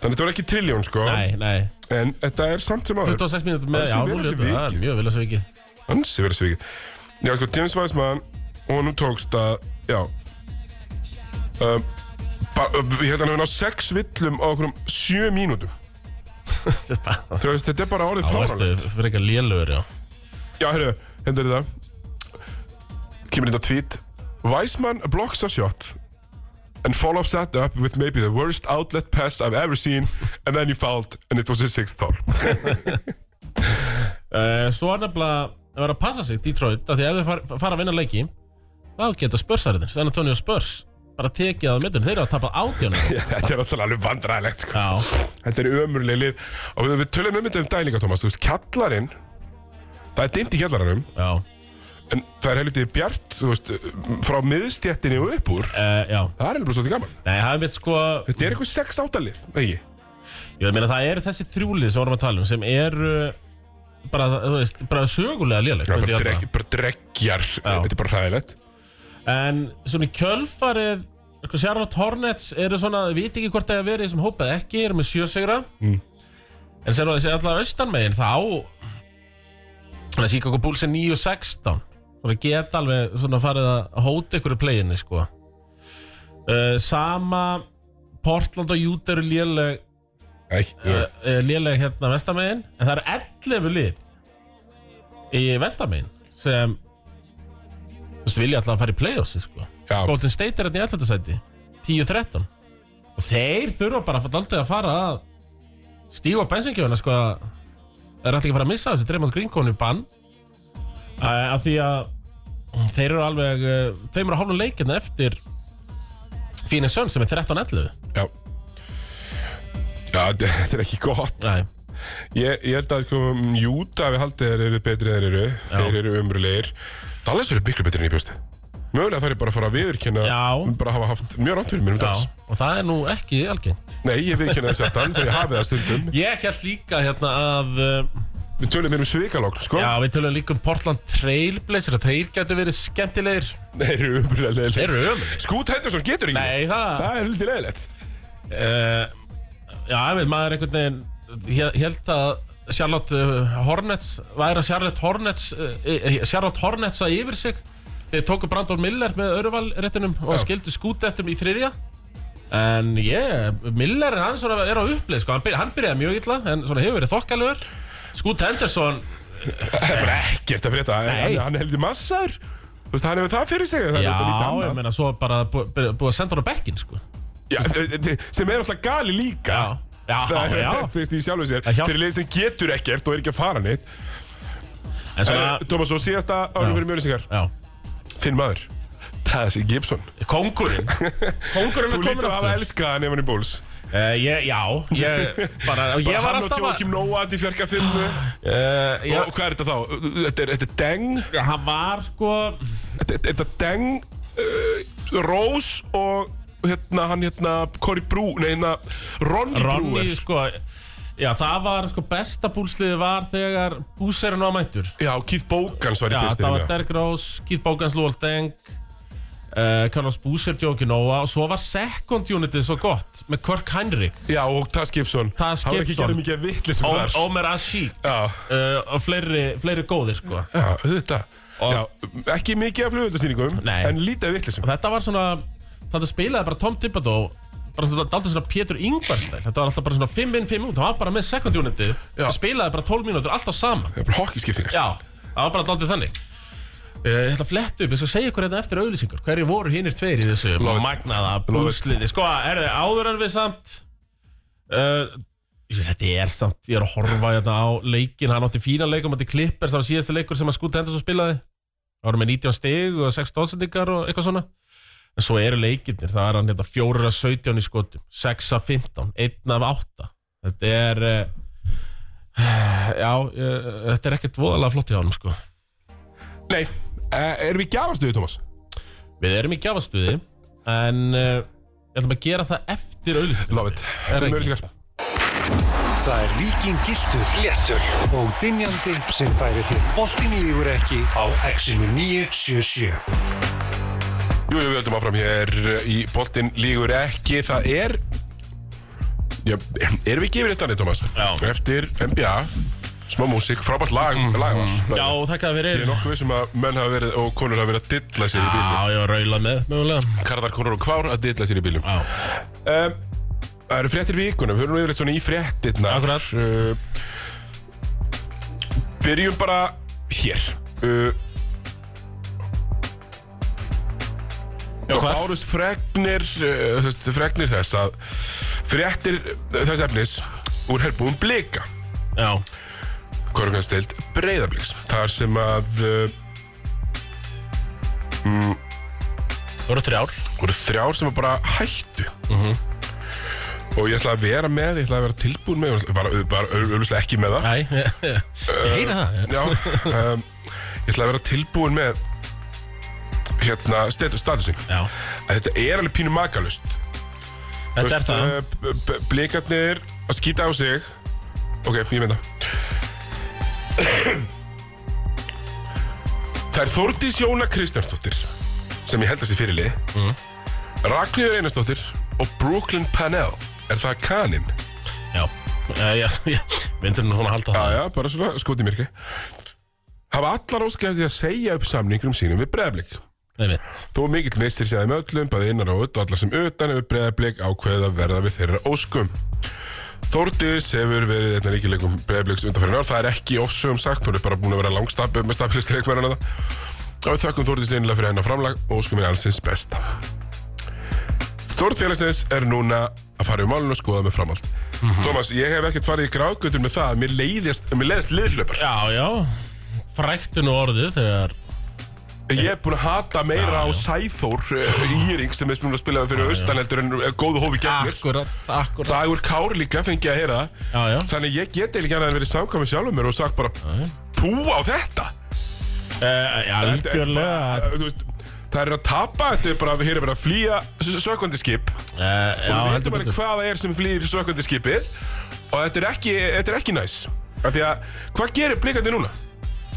S2: Þannig þetta var ekki trilljón sko
S3: nei, nei
S2: En þetta er samt sem áður
S3: 26 mínútur
S2: Hann
S3: með,
S2: sé
S3: já,
S2: vel að sé vikið.
S3: nú er þetta Mjög vel að segja ekki
S2: Hansi verið svikið Já, sko, James Weissman Honum tókst að, já um, ba- um, Ég held að hann hefði náð 6 villum á okkurum 7 mínútum
S3: Þetta er bara-
S2: Þú veist, þetta er bara orðið
S3: Þá
S2: fáránlegt
S3: ertu frekar lélugur, já
S2: Já, hérna, hérna er þetta Kemur þetta tweet Weissman blocks a shot And follows that up with maybe the worst outlet pass I've ever seen And then he fouled and it was his sixth foul
S3: Eh, Svo er nefnilega að vera að passa sig Detroit af því að ef þau far, fara að vinna leiki þá geta spörsariðin, San Antonio Spurs bara tekið að myndun, þeir eru að tapa átjónu
S2: Þetta er alltaf alveg vandræðilegt sko.
S3: Já,
S2: Þetta er ömurleg lið Og við, við tölum um þetta um dælinga, Thomas Þú veist, kjallarinn Það er dimmt í kjallaranum
S3: já,
S2: En það er helviti bjart, þú veist Frá miðstjættinni og upp úr
S3: uh, já
S2: Það er helviti svolítið gaman
S3: Nei, það er mitt sko,
S2: Þetta er eitthvað sex áttalið, ekki?
S3: ég meina það eru þessi þrjúlið sem vorum að tala um sem eru bara, þú veist, bara sögulega léleg
S2: Það er
S3: myndi
S2: bara,
S3: ég
S2: dreg, bara dregjar Þetta er bara hræðilegt
S3: kalla það. En svona í kjölfarið sko, Charlotte Hornets eru svona, við viti ekki hvort það er að vera í þessum hópað ekki, eru með sjösegra mm. En sér það alltaf austanmegin þá Þannig að Chicago Bulls er 9 og 16 Þannig að geta alveg svona farið að hóta ykkur í playinni sko uh, Sama Portland og Utah eru léleg
S2: Æ,
S3: uh, uh, léleg hérna vestamegin En það eru 11 lið Í vestamegin Sem Þú veist, vilja alltaf að fara í playoffs sko.
S2: Já.
S3: Golden State er hérna í 11. sæti 10-13 Og þeir þurfa bara að aldrei að fara að Stíga á bensingjöfuna sko að Það er alltaf ekki að fara að missa þessu Dreymond Green konu í bann Æ, Af því að þeir eru alveg eh, Tveimur og hálfum leikina eftir Phoenix Suns sem er 13-11
S2: Já Já, þetta þetta er ekki gott
S3: Nei,
S2: Ég, ég held að sko, Júta við haldið þeir eru betri en þeir eru Þeir eru umrulegir Dallas eru miklu betri en ég bjósti Mögulega þær er bara að fara að viðurkenna
S3: Já.
S2: Bara hafa haft mjög rátt fyrir mér um
S3: já,
S2: dans
S3: og það er nú ekki algengt
S2: Nei, ég viðurkenna þess að þann Þegar ég hafi það stundum
S3: Ég held líka hérna að eh,
S2: Við tölum mér um svikalogn, sko
S3: Já, við tölum líka um Portland Trailblazer að þeir getur verið skemmtilegir
S2: Þeir eru umrulegir
S3: Þeir eru ömurlegir.
S2: Skút Henderson getur ekki
S3: Nei,
S2: neitt.
S3: það-
S2: Það er hluti leðilegt
S3: uh, Já, ég veit, maður einhvern veginn hér- held að Charlotte eh, Hornets væri að Charlotte Hornets uh, Charlotte Hornets að yfir sig þeir tóku Brandon Miller með öruvalréttunum og
S2: Já.
S3: skildu skút eftir í þriðja en ég, Miller er hann svona er á upplið, sko, hann, byrja, hann byrjaði mjög illa en svona hefur verið þokkalögur Skút Henderson,
S2: Það er bara ekkert að frétta En
S3: Nei.
S2: Hann, hann heldur massar Þú veist, hann hefur það fyrir sig
S3: já,
S2: þannig að þetta líti
S3: ég
S2: annað.
S3: meina svo bara bú- byrja- búið að senda hann á bekkin, sko
S2: Já, þe- þe- sem er alltaf gali líka
S3: Já, já,
S2: Það er,
S3: já.
S2: þú veist, í sjálfu sér
S3: Það hjálp-
S2: Fyrir leið sem getur ekkert og er ekki að fara neitt
S3: en svona,
S2: En, Thomas, og síðasta árið
S3: Já.
S2: fyrir mjölisingar
S3: já,
S2: Þinn maður Tassi Gibson
S3: kóngurinn kóngurinn
S2: Þú
S3: er
S2: lítur
S3: komin
S2: að hafa
S3: aftur
S2: elskað hann ef hann er búls
S3: uh, ég, já, ég bara, og ég
S2: Bara
S3: var
S2: hann og
S3: alltaf að
S2: Joakim Noah til fjarka filmu
S3: Uh, já,
S2: Og hvað er þetta þá? Þetta er, þetta er deng
S3: hann var sko
S2: Þetta er, þetta er deng uh, Rose og hérna, hann hérna, Corey Brew, nei hérna, Ronny,
S3: Ronny,
S2: Brewer.
S3: sko Já, það var sko besta búlsliði var þegar búserinn var mættur
S2: Já, Keith Bogans var í
S3: Já, það var
S2: tvistirinn, já.
S3: Derrick Rose, Keith Bogans, Lúval Deng uh, Carlos Búser, Jóki Nóa og svo var second unitið svo gott með Kirk Heinrich,
S2: Já, og Taz Gibson.
S3: Taz
S2: Hann var ekki
S3: Gibson.
S2: gerðið mikið vittlisum
S3: Om-
S2: þar.
S3: Omer Ashik
S2: Já,
S3: uh, og fleiri, fleiri góðir sko
S2: já, auðvitað.
S3: Og-
S2: Já, ekki mikið af flugvöldasýningum,
S3: Nei.
S2: en lítið af vittlisum.
S3: og þetta var svona þetta spilaði bara Tom Thibodeau bara svona daldið svona Pétur Ingvarstæl þetta var alltaf bara svona 5 inn 5 út það var bara með second unitið
S2: Já.
S3: það spilaði bara 12 mínútur alltaf saman
S2: Það er bara hockeyskiptingar.
S3: Já, það var bara daldið þannig Eh, Ég ætla að fletta upp, ég skal segja ykkur þetta eftir auðlýsingar Hverju voru hinnir tveir í þessu
S2: Love it.
S3: magnaða
S2: Love it.
S3: búsliði Sko, er þið áður en við samt uh, Þetta er samt, ég er að horfa hérna á leikin Hann átti fína leikum, átti klippers Það var síðasta leikur sem að skúta hendur svo spilaði Það voru með 19 stig og 6 stóðsendingar og eitthvað svona En svo eru leikirnir, það er hann hérna 4 að 17 í skotum 6 að 15, 1 af 8 Þetta er uh, Já, uh, þetta er ekkert voðalega flott í honum sko
S2: Nei, eh, erum við gjafastuðið, Thomas?
S3: Við erum í gjafastuði En uh, ég ætlum að gera það eftir auðlýsingum
S2: Love it.
S3: Er
S2: Fimm
S3: ekki.
S2: auglýsingar.
S1: Það er vikingiltur, léttur og dinjandi sem færi til Bóttin lífur ekki á Exinu 977
S2: Jú, jú, við höldum áfram hér eh, í boltinn lígur ekki, það er Já, erum við ekki yfir þetta niður, Thomas?
S3: Já. Mhm.
S2: Eftir NBA, smá músík, frábært lag, mm. lagval
S3: Já, þakka
S2: Ég
S3: fyrir
S2: er nokkuð vissum að menn hafa verið og konur hafa verið að dilla sér í bílum
S3: Já, ég var raulað með, mögulega
S2: Karðar, konur og kvár að dilla sér í bílum
S3: Já,
S2: um, Það eru fréttir vikunum, við höfum yfir þetta svona í fréttirna
S3: Akkurat.
S2: uh, Byrjum bara hér uh,
S3: já
S2: og
S3: hvað?
S2: bárust fregnir, uh, þess, fregnir þess að fréttir uh, þess efnis úr herbúum blika
S3: Já,
S2: Körgjarnstild breyðabliks þar sem að uh,
S3: það voru þrjár
S2: voru þrjár sem að bara hættu
S3: Mhm.
S2: og ég ætla að vera með ég ætla að vera tilbúin með ég var, var auðvitað ekki með það
S3: Æ, ég heyra það
S2: Já, um, ég ætla að vera tilbúin með hérna status- statusing
S3: Já,
S2: að þetta er alveg pínu makalust
S3: þetta er það
S2: eh, Blikarnir að skýta á sig Ok, ég mynda Það er Þórdís Jóna Kristjánsdóttir sem ég held að sé fyrirlið mm. Ragnhjör Einarsdóttir og Brooklyn Panel Er það kaninn?
S3: Já, já, já, já Vindur nú svona að halda það
S2: Aja, bara svona skoti myrkri Hafa allar óskæði eftir því að segja upp samningurum sínum við breyðablik
S3: Nei, mitt
S2: Þó mikill missir sér með öllum, bæði innan og út og alla sem utan hefur breyðablík ákveðið að verða við þeirra óskum. Þórdís hefur verið einna líkilegum breyðablíks undanferðin ár, það er ekki ofsögum sagt, hún er bara búin að vera langstapið með stabilist reikmærana það. Og við þökkum Þórdís einlega fyrir hennar framlag og óskum henni allsins besta. Þórð félagsins er núna að fara í málun og skoða með framhald. Thomas, ég hef ekkert farið í gráðgötur með það, mér leiðist, mér leiðist liðhlaupar.
S3: Já, já Fræktu nú orðið þegar
S2: Ég er búin að hata meira á Sæþór uh, Íring sem er búin að spila fyrir austaneldur en eh, góðu hófi gegnir.
S3: Akkurat, akkurat
S2: Dagur Kár líka fengi að heyra það.
S3: Ah. Já, já
S2: Þannig ég get eiginlega ekki annað en verið samkvæmið sjálfum mér og sagt bara pú á þetta.
S3: Eh,
S2: Þetta er
S3: Já,
S2: bara,
S3: algjörlega
S2: eh, þú veist, Það er að tapa, þetta er bara að hér er verið að flýja sökvandiskip.
S3: Eh, Já,
S2: Við
S3: heldur
S2: veitum alveg
S3: betur
S2: hvað það er sem flýir sökvandiskipið og þetta er ekki, þetta er ekki næs. Af því að, hvað gerir blikandi núna?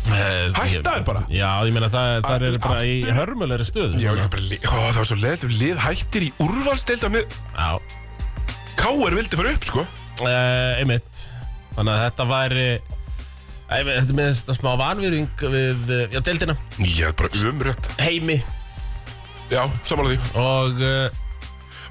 S3: Eh, ég-
S2: Hætta er bara.
S3: Já, ég meina það, það
S2: Að-
S3: eru bara í
S2: aftur-
S3: hörmulegri stöðu
S2: Já, líka bara, li- ó, það var svo leðt ef lið hættir í úrvalstelda með
S3: Já,
S2: K.R. vildi fara upp, sko.
S3: Eh, einmitt Þannig að þetta væri Æ, ég veit, Þetta er með þetta smá vanvýring við, eh, já, deildina,
S2: Já, bara umrætt.
S3: heimi
S2: Já, samanlega því.
S3: og, eh,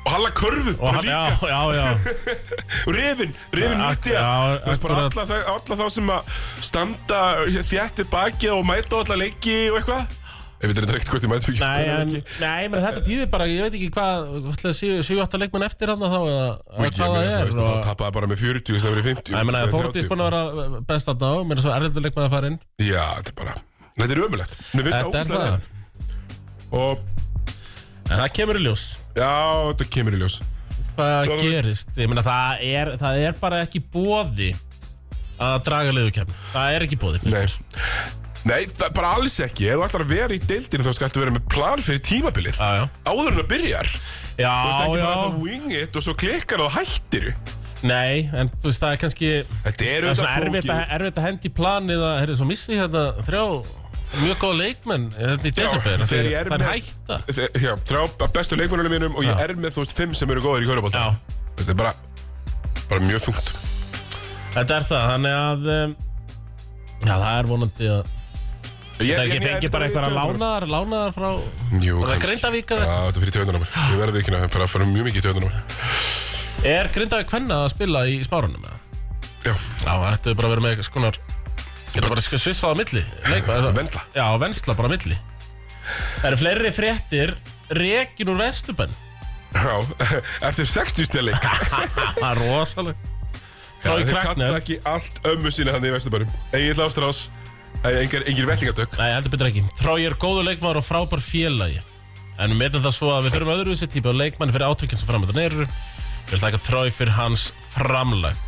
S2: Og halla körfu,
S3: og
S2: bara líka.
S3: já, já, já,
S2: Rifin, rifin
S3: Ja,
S2: mætti
S3: já,
S2: að bara
S3: akkurat.
S2: alla, þau- alla þá sem að standa þjætt við bakið og mæta á alla leiki og eitthvað Ég veit þetta ekkert hvort ég mæti mikið
S3: nei, en, nei, menn þetta týðir bara, ég veit ekki hvað, hvað séu, séu átta leikmenn eftir hann þá, eða eða
S2: Ég
S3: hvað
S2: meina, þú
S3: það er
S2: veist að um þá
S3: og,
S2: tapaði það bara með 40 í stað fyrir 50
S3: Nei, menna,
S2: eða
S3: Þórdís
S2: 30.
S3: búin að vera best að ná, menn svo erlendur leikmenn að fara inn
S2: Já, þetta er bara, þetta er ömulegt Mér finnst það
S3: Þetta er
S2: ógustlega
S3: það.
S2: reyðar Og,
S3: En það kemur í ljós,
S2: já, þetta kemur í ljós
S3: hvað
S2: Þú veist-
S3: gerist, ég meina það er, það er bara ekki bóði að draga liðukefn, það er ekki bóði
S2: Nei Nei, það er bara alls ekki Ef þú ætlar að vera í deildinu þá skaltu vera með plan fyrir tímabilið
S3: Já, já.
S2: Áður en það byrjar
S3: Já,
S2: Þú veist ekki
S3: já,
S2: bara að það wing it og svo klikkar og hættir
S3: nei, en þú veist það er kannski
S2: Þetta er
S3: Það er svona
S2: auðvitað
S3: erfitt
S2: flókið
S3: að, erfitt að hendi í planið að, herri, svo missi ég hérna þrjá mjög góða leikmenn hérna í desember,
S2: þegar ég er
S3: það er
S2: með-
S3: hætta.
S2: Þe- Já, þrjá af bestu leikmennunum mínum og ég
S3: Já.
S2: er með þú veist fimm sem eru góðir í körubólta
S3: Já.
S2: Þetta er bara, bara mjög þungt
S3: Þetta er það, þannig að, um, já það er vonandi að,
S2: Ég,
S3: það ekki fengi bara eitthvað lánaðar, lánaðar frá,
S2: Jú,
S3: var það
S2: kannski.
S3: Grindavík
S2: Já,
S3: eða?
S2: þetta er fyrir töðunumar Ég verði ekki nefn, bara fyrir mjög mikið töðunumar
S3: Er Grindavík hvenna að spila í spárunum eða?
S2: Já,
S3: Já, þetta er bara að vera með eitthvað skonar Þetta er bara að svissa á milli leikmaður, það-
S2: Vensla.
S3: Já, vensla bara á milli Það eru fleiri fréttir Rekin úr Vesturbenn
S2: já, eftir 60 stjæli Já,
S3: Það er rosaleg Þá í
S2: þeir kalla
S3: Kraknes
S2: ekki allt ömmu sína hann í Vesturbarum Egil Ástrás, það er engir, engir vellingadök
S3: Nei, heldur betur ekki Trói er góður leikmaður og frábær félagi En við metum það svo að við fyrir öðru þessi típa og leikmanni fyrir átökinn sem framöndan eru Ég vil taka Trói fyrir hans framlag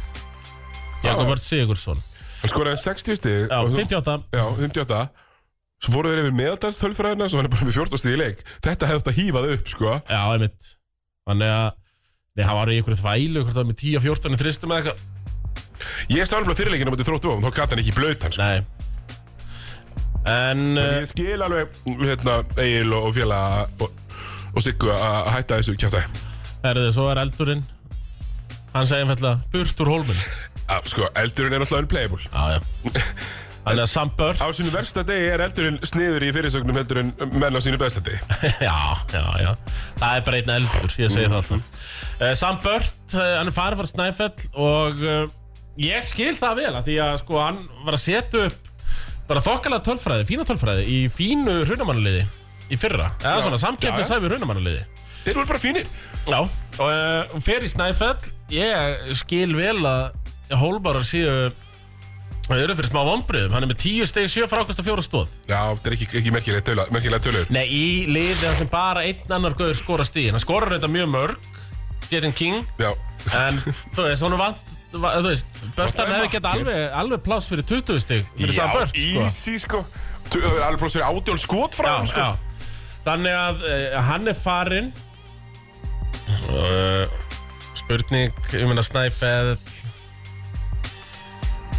S3: Jakob Vart Sigursson
S2: Hann skoraði 60 stjæli
S3: Já, 58
S2: Já, 58 Svo voru þeir yfir meðaldalstölfræðina Svo hann er bara með 14 stíð í leik Þetta hefði þetta hífað upp, sko
S3: Já, einmitt Þannig að Nei, hann var í einhverju þvælu, hvort það var með 10-14 í þristum eða eitthvað
S2: Ég sá alveg fyrirleikinu á móti þróttu og þá gata hann ekki í blöt hann, sko
S3: Nei En eh,
S2: Ég skil alveg, hérna, Egil og, og Fjalla og, og Siggu að að hætta þessu kjáta
S3: herðu, svo er eldurinn Hann segir einfallega Burt úr hólminn
S2: Sko, eldurinn er alltaf unplayable
S3: Já, já Þannig að sambör
S2: Á sínum versta degi er eldurinn sniður í fyrirsögnum heldur en menn á sínu besta degi
S3: Já, já, já Það er bara einn eldur, ég segi
S2: Mhm.
S3: það alltaf uh, Sambört, uh, hann er farið fyrir Snæfell Og uh, ég skil það vel af Því að sko hann var að setja upp Bara þokkalega tölfræði, fína tölfræði Í fínu hrunamannaliði Í fyrra, eða
S2: Já,
S3: svona samkeppni
S2: já, já.
S3: sæfi hrunamannaliði
S2: Þeir voru bara fínir
S3: Já, og uh, fer í Snæfell Ég skil vel að Hólbarar séu Það eru fyrir smá vombriðum, hann er með 10 steg 7 frákvæmst og 4 stóð
S2: Já, þetta er ekki, ekki merkilega tölu, merkilega tölur
S3: Nei, í liði þar sem bara einn annar gauður skora stíðin Hann skorar þetta mjög mörg Jettin King
S2: Já,
S3: En þú veist, honum vant va- Þú veist, Börtan
S2: Vantaði
S3: hefði gett
S2: markið.
S3: alveg, alveg pláss fyrir 20 stig Fyrir
S2: Já,
S3: saman Bört sko.
S2: easy, sko Tö- Það er alveg bara sér átjón skot frá
S3: já,
S2: hann, sko
S3: já. Þannig að uh, hann er farinn uh, Spurning Ég meina Snæfell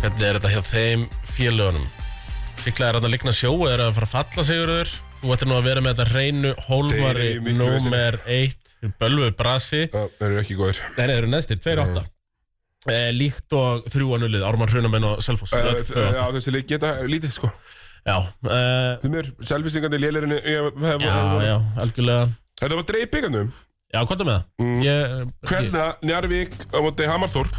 S3: Hvernig er þetta hjá þeim félögunum Sikla er hann að líkna sjó eða er að fara að falla sigurður Þú ættir nú að vera með þetta reynu
S2: Þeir
S3: Hólmari
S2: eru í miklu
S3: Númer 1 Bölvu Brasi
S2: Já, þeir eru ekki góðir
S3: Nei, nei, þeir eru neðstir, 2-8 Eh, líkt og 3-0 Ármann Hrunamenn og Selfoss
S2: Uh,
S3: öll tvö átta.
S2: já, þessi leik geta lítið sko
S3: Eh, Já, eh,
S2: Þeim er selvisingandi lélir en ég hef hef-
S3: já, já, algjörlega
S2: Þetta var dreif byggandum
S3: Já, hvað er með það?
S2: Mm.
S3: Ég,
S2: Hvernig Njarvík á móti Hamarþór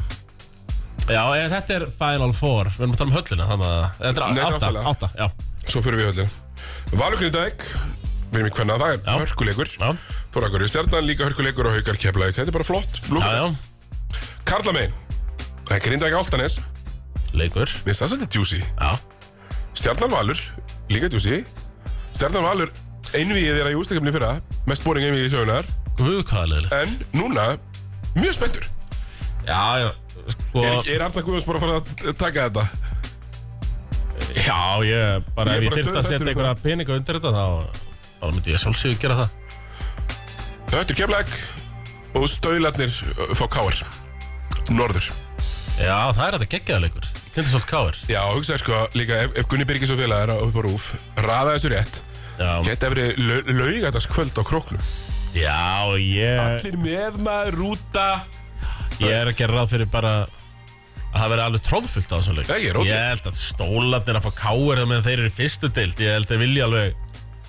S3: Já, ég, þetta er Final Four Við erum að tala um höllina þannig að
S2: Nei,
S3: Þetta er átta,
S2: áttalega.
S3: átta, já
S2: Svo fyrir við höllin Valur Grindavík Við erum í hvernig það er
S3: Já.
S2: hörkuleikur
S3: Já,
S2: Þórakur í stjarnan líka hörkuleikur og haukar keflavík Þetta er bara flott
S3: já, já,
S2: Karlamein Það er Grindavík Áltanes
S3: leikur
S2: Mér finnst það svolítið djúsi
S3: Já,
S2: Stjarnan Valur líka djúsi Stjarnan Valur einvíið er að í ústakefni fyrra Mest boring einvíið í sögunar
S3: guð hvaða leiðilegt
S2: En núna Mjög spenntur
S3: Já, já, sko
S2: Er, er Arna Guðjóns bara að fara að t- taka þetta?
S3: Já, ég bara
S2: Ég er bara
S3: Ef ég þyrfti að
S2: dauðhræddur um
S3: setja einhverja peninga undir þetta þá bara myndi ég sjálfsögur gera það
S2: Þetta er kemleik og stöðlarnir uh, fá káar. Norður.
S3: Já, það er þetta geggjaða leikur Tindasólt Káir
S2: Já, hugsaði sko líka ef, ef Gunni Birgis og félagar á- upp á rúf raða þessu rétt,
S3: Já,
S2: geta verið lau- laugadagskvöld á króknum.
S3: já, ég
S2: Allir með maður rúta.
S3: Ég er að gera ráð fyrir bara að það verði alveg tróðfullt á þessum leik
S2: Já, ég er ótrúlega.
S3: Ég held að stólarnir að fá káir meðan þeir eru í fyrstu deild Ég held að vilja alveg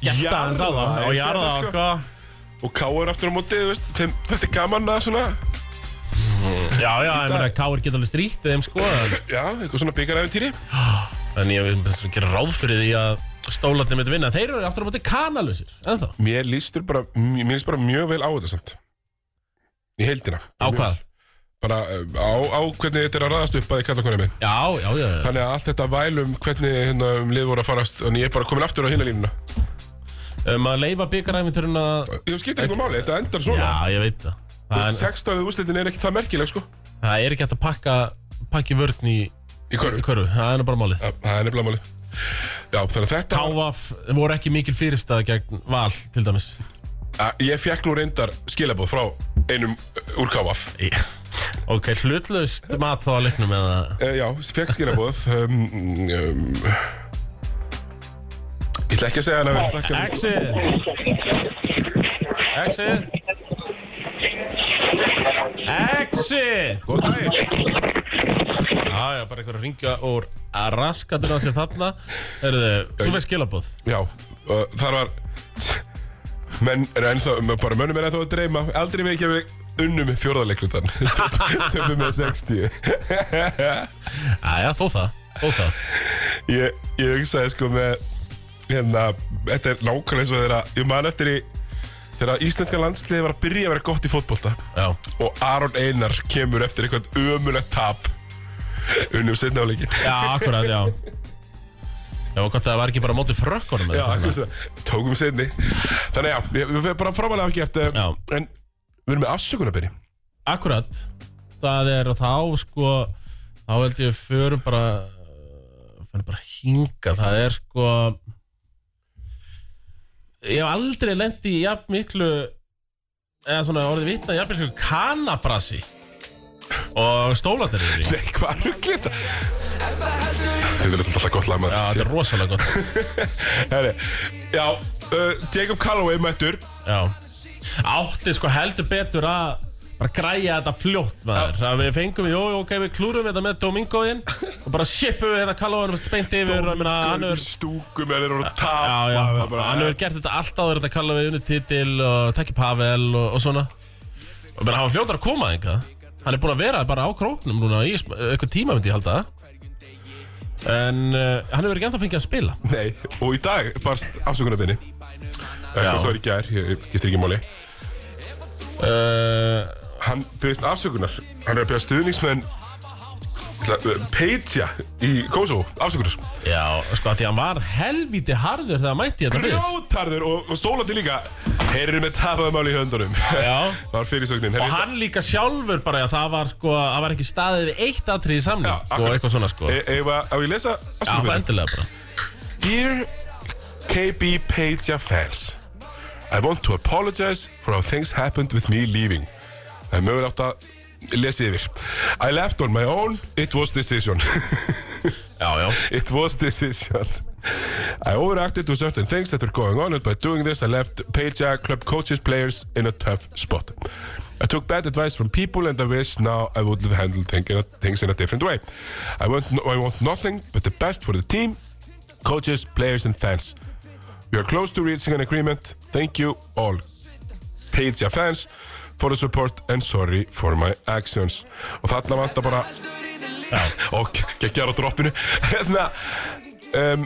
S3: gesta
S2: Jarða,
S3: hans á það
S2: ég
S3: og
S2: segi
S3: jarða
S2: það,
S3: það
S2: sko.
S3: sko.
S2: Og káar aftur á móti, þú veist, þeim, þetta er gaman að svona,
S3: Já, já, ég meina
S2: dag.
S3: káir geta alveg strýtt þeim sko en-
S2: já, eitthvað svona byggaræfintýri.
S3: En ég vil bara gera ráð fyrir því að stólarnir mitt vinna Þeir eru aftur á móti kanalusir, ennþá
S2: Mér lístur bara, mér líst bara mjög vel á þetta samt. Í heildina.
S3: Á hvað?
S2: Bara uh, á, á hvernig þetta er að raðast upp að þið kalla konið minn.
S3: Já, já, já, já.
S2: Þannig að allt þetta vælum hvernig hérna um lið voru að farast Þannig ég er bara komin aftur á hinna línuna
S3: Um að leifa byggaræfinturinn að
S2: Ég skiptir einhver máli, þetta endar svona
S3: Já, ég veit það
S2: Þú
S3: Það
S2: veist,
S3: er,
S2: 16. úrslitin er ekki það merkileg sko
S3: það er ekki hægt að pakka pakki vörn í,
S2: Í
S3: í
S2: hverju?
S3: körfu, það er nú bara málið
S2: Það er nefnilega málið Já, þannig að þetta
S3: KVF voru ekki mikil fyrirstaða gegn val til dæmis
S2: að, Eh, Ég fekk nú reyndar skilabóð frá einum uh, úr KF
S3: Ok, hlutlaust mat þá að leiknum eða
S2: Eh, Já, fekk skilabóð um, um, Ég ætla ekki að segja hann að vera flækkandi
S3: Exit Exit Exit
S2: Góð daginn
S3: Já, já, bara einhver að ringja úr að raskatur á sér þarna Herðu, þú veist skilabóð
S2: Já, uh, þar var menn er ennþá, bara mönnum er ennþá að dreyma aldrei mikið að við unnum fjórðarleiklutan töfum með 60
S3: Já, já, þó það, þó það
S2: ég, ég hugsaði sko með hérna, þetta er nákvæmlega eins og þeirra ég man eftir í þegar íslenska landsliði var að byrja að vera gott í fótbolta
S3: Já,
S2: og Aron Einar kemur eftir eitthvað ömulegt tap unnum setna á leikin
S3: já, akkurat, já Já, og gott að það var ekki bara á móti frökkunum
S2: Já,
S3: eða eitthvað
S2: hversu, tókum setni þannig já, ég- við erum bara frábælega afgjert
S3: Já.
S2: en við erum með afsökunarbyrji
S3: Akkurat Það er þá sko Þá held ég förum bara eh, Förum bara hinga Það er sko Ég hef aldrei lendi í jafn miklu Eða svona orðið vitna í Jafn miklu kanabrasi Og stólatir yfir í
S2: Nei, hvað rugglir þetta? Þetta er alltaf gott lag
S3: Já, þetta
S2: maður
S3: er rosalega gott
S2: Herri, Já, uh, Jacob Calloway mættur
S3: Já Átti sko heldur betur að bara græja þetta fljótt maður að við fengum, jú, jú, ok, við klúrum þetta með Domingoðinn og bara shipum við hérna Kallóðan beint yfir, ég meina, hann er
S2: Stúkum er að
S3: Já,
S2: tapa
S3: já,
S2: það er bara-
S3: hann hefur gert þetta alltaf verið að kalla við unni titil og takki Pavel og, og svona og bara hafa fljótar að koma enga hann er búin að vera bara á króknum núna í sm- eitthvað tíma myndi ég halda en uh, hann hefur ekki ennþá fengið að spila
S2: Nei, og í dag barst afsökunarbyrji Eitthvað það var í gær, ég ég skiptir ekki máli
S3: uh,
S2: Hann byrðist afsökunar Hann er að byrja stuðningsmenn Peitja í Kosovo Afsökunar
S3: já, sko að því hann var helvíti harður þegar hann mætti þetta fyrst
S2: Grjótarður og, og stólandi líka Heyrðu með tapaðumáli í höndunum
S3: Já.
S2: Var fyrirsögnin
S3: og hann líka sjálfur bara að það var sko að var ekki staðið við eitt atrið í samling
S2: Já,
S3: og
S2: akkurat.
S3: eitthvað svona sko já,
S2: Eða, e- á ég lesa
S3: bara
S2: afsökunarbyrji
S3: endilega bara
S2: Dear KB Peja fans, I want to apologize for how things happened with me leaving. Það er mögulegt að lesa yfir. I left on my own, it was decision.
S3: já, já,
S2: it was decision. I overreacted to certain things that were going on and by doing this I left Peja club coaches players in a tough spot. I took bad advice from people and I wish now I would have handled thing- things in a different way. I want, no, I want nothing but the best for the team, coaches, players and fans. We are close to reaching an agreement. Thank you all Peja fans for the support and sorry for my actions. Og þarna vantar bara og geggjar á droppinu hérna um,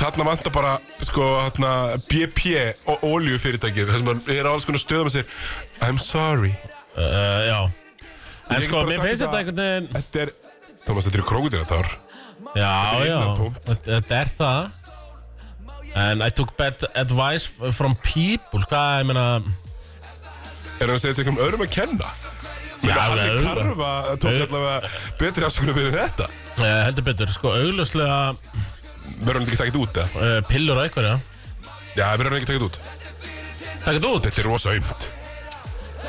S2: þarna vantar bara sko hérna BP og oljufyrirtækið þar sem hann er á alls konar stöðum að sér I'm sorry
S3: uh, já
S2: Ég
S3: en
S2: get
S3: sko,
S2: bara
S3: mér
S2: sagt
S3: finnst
S2: þetta-
S3: þetta einhvern veginn
S2: þetta er Thomas þetta eru krókutinatár
S3: Já,
S2: er
S3: já,
S2: innantómt.
S3: þetta- þetta er það And I took bad advice from people Hvað, ég meina
S2: er hann að segja þetta eitthvað öðrum að kenna
S3: Já,
S2: Meina,
S3: það
S2: hann
S3: er
S2: er
S3: auðvitað.
S2: karfa tók allavega betri afsökunum fyrir þetta
S3: eh, Heldur betur, sko, augljóslega
S2: verður hann ekki takkt út eða?
S3: uh, pillur á einhverja
S2: já, verður hann ekki takkt út
S3: Takk þetta út
S2: þetta er rosa aumt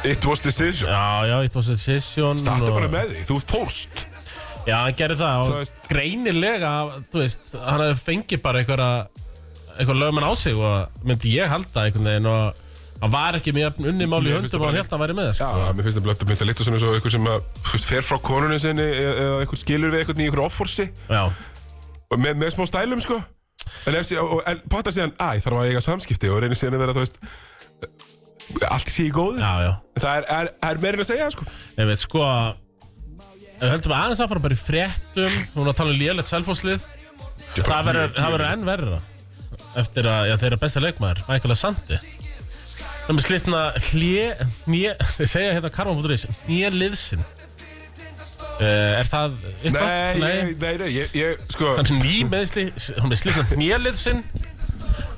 S2: it was decision
S3: Já, já, it was a decision
S2: starta
S3: og-
S2: bara með því, þú fórst
S3: Já, hann gerði það og
S2: Þú veist-
S3: greinilega, þú veist, hann hefði fengið bara einhverja einhver lögmann á sig og myndi ég halda einhvern veginn og hann var ekki með jafn unni máli í
S2: Mér finnst það
S3: höndum og hann
S2: bara-
S3: held að hann væri með sko.
S2: Já, mér finnst það blögt að mynda litið svona eins og einhver sem að, þú veist, fer frá konunni sinni eða eða einhver skilur við einhvern í einhver offorsi
S3: Já,
S2: og með, með smá stælum sko en, er, sí- og, og- en potar síðan, æ, þarf að eiga samskipti og reynir síðan að vera, þú veist e, allt sé í góðu
S3: já, já
S2: það er, er, er meirinn að segja sko
S3: Ég veit sko Ef við höldum aðeins að fara bara í fréttum Hún var að tala um lélegt selfhóslið Það verður það verður enn verra Eftir að já, þeirra besta leikmaður Michael Asante Það með slitna hlje Hnje Þeir segja hérna karma.is Hnje liðsin uh, Er það eitthvað?
S2: Nei, nei, nei, nei ég, ég, sko
S3: Hann er ný meðsli Hún er slitna hnje liðsin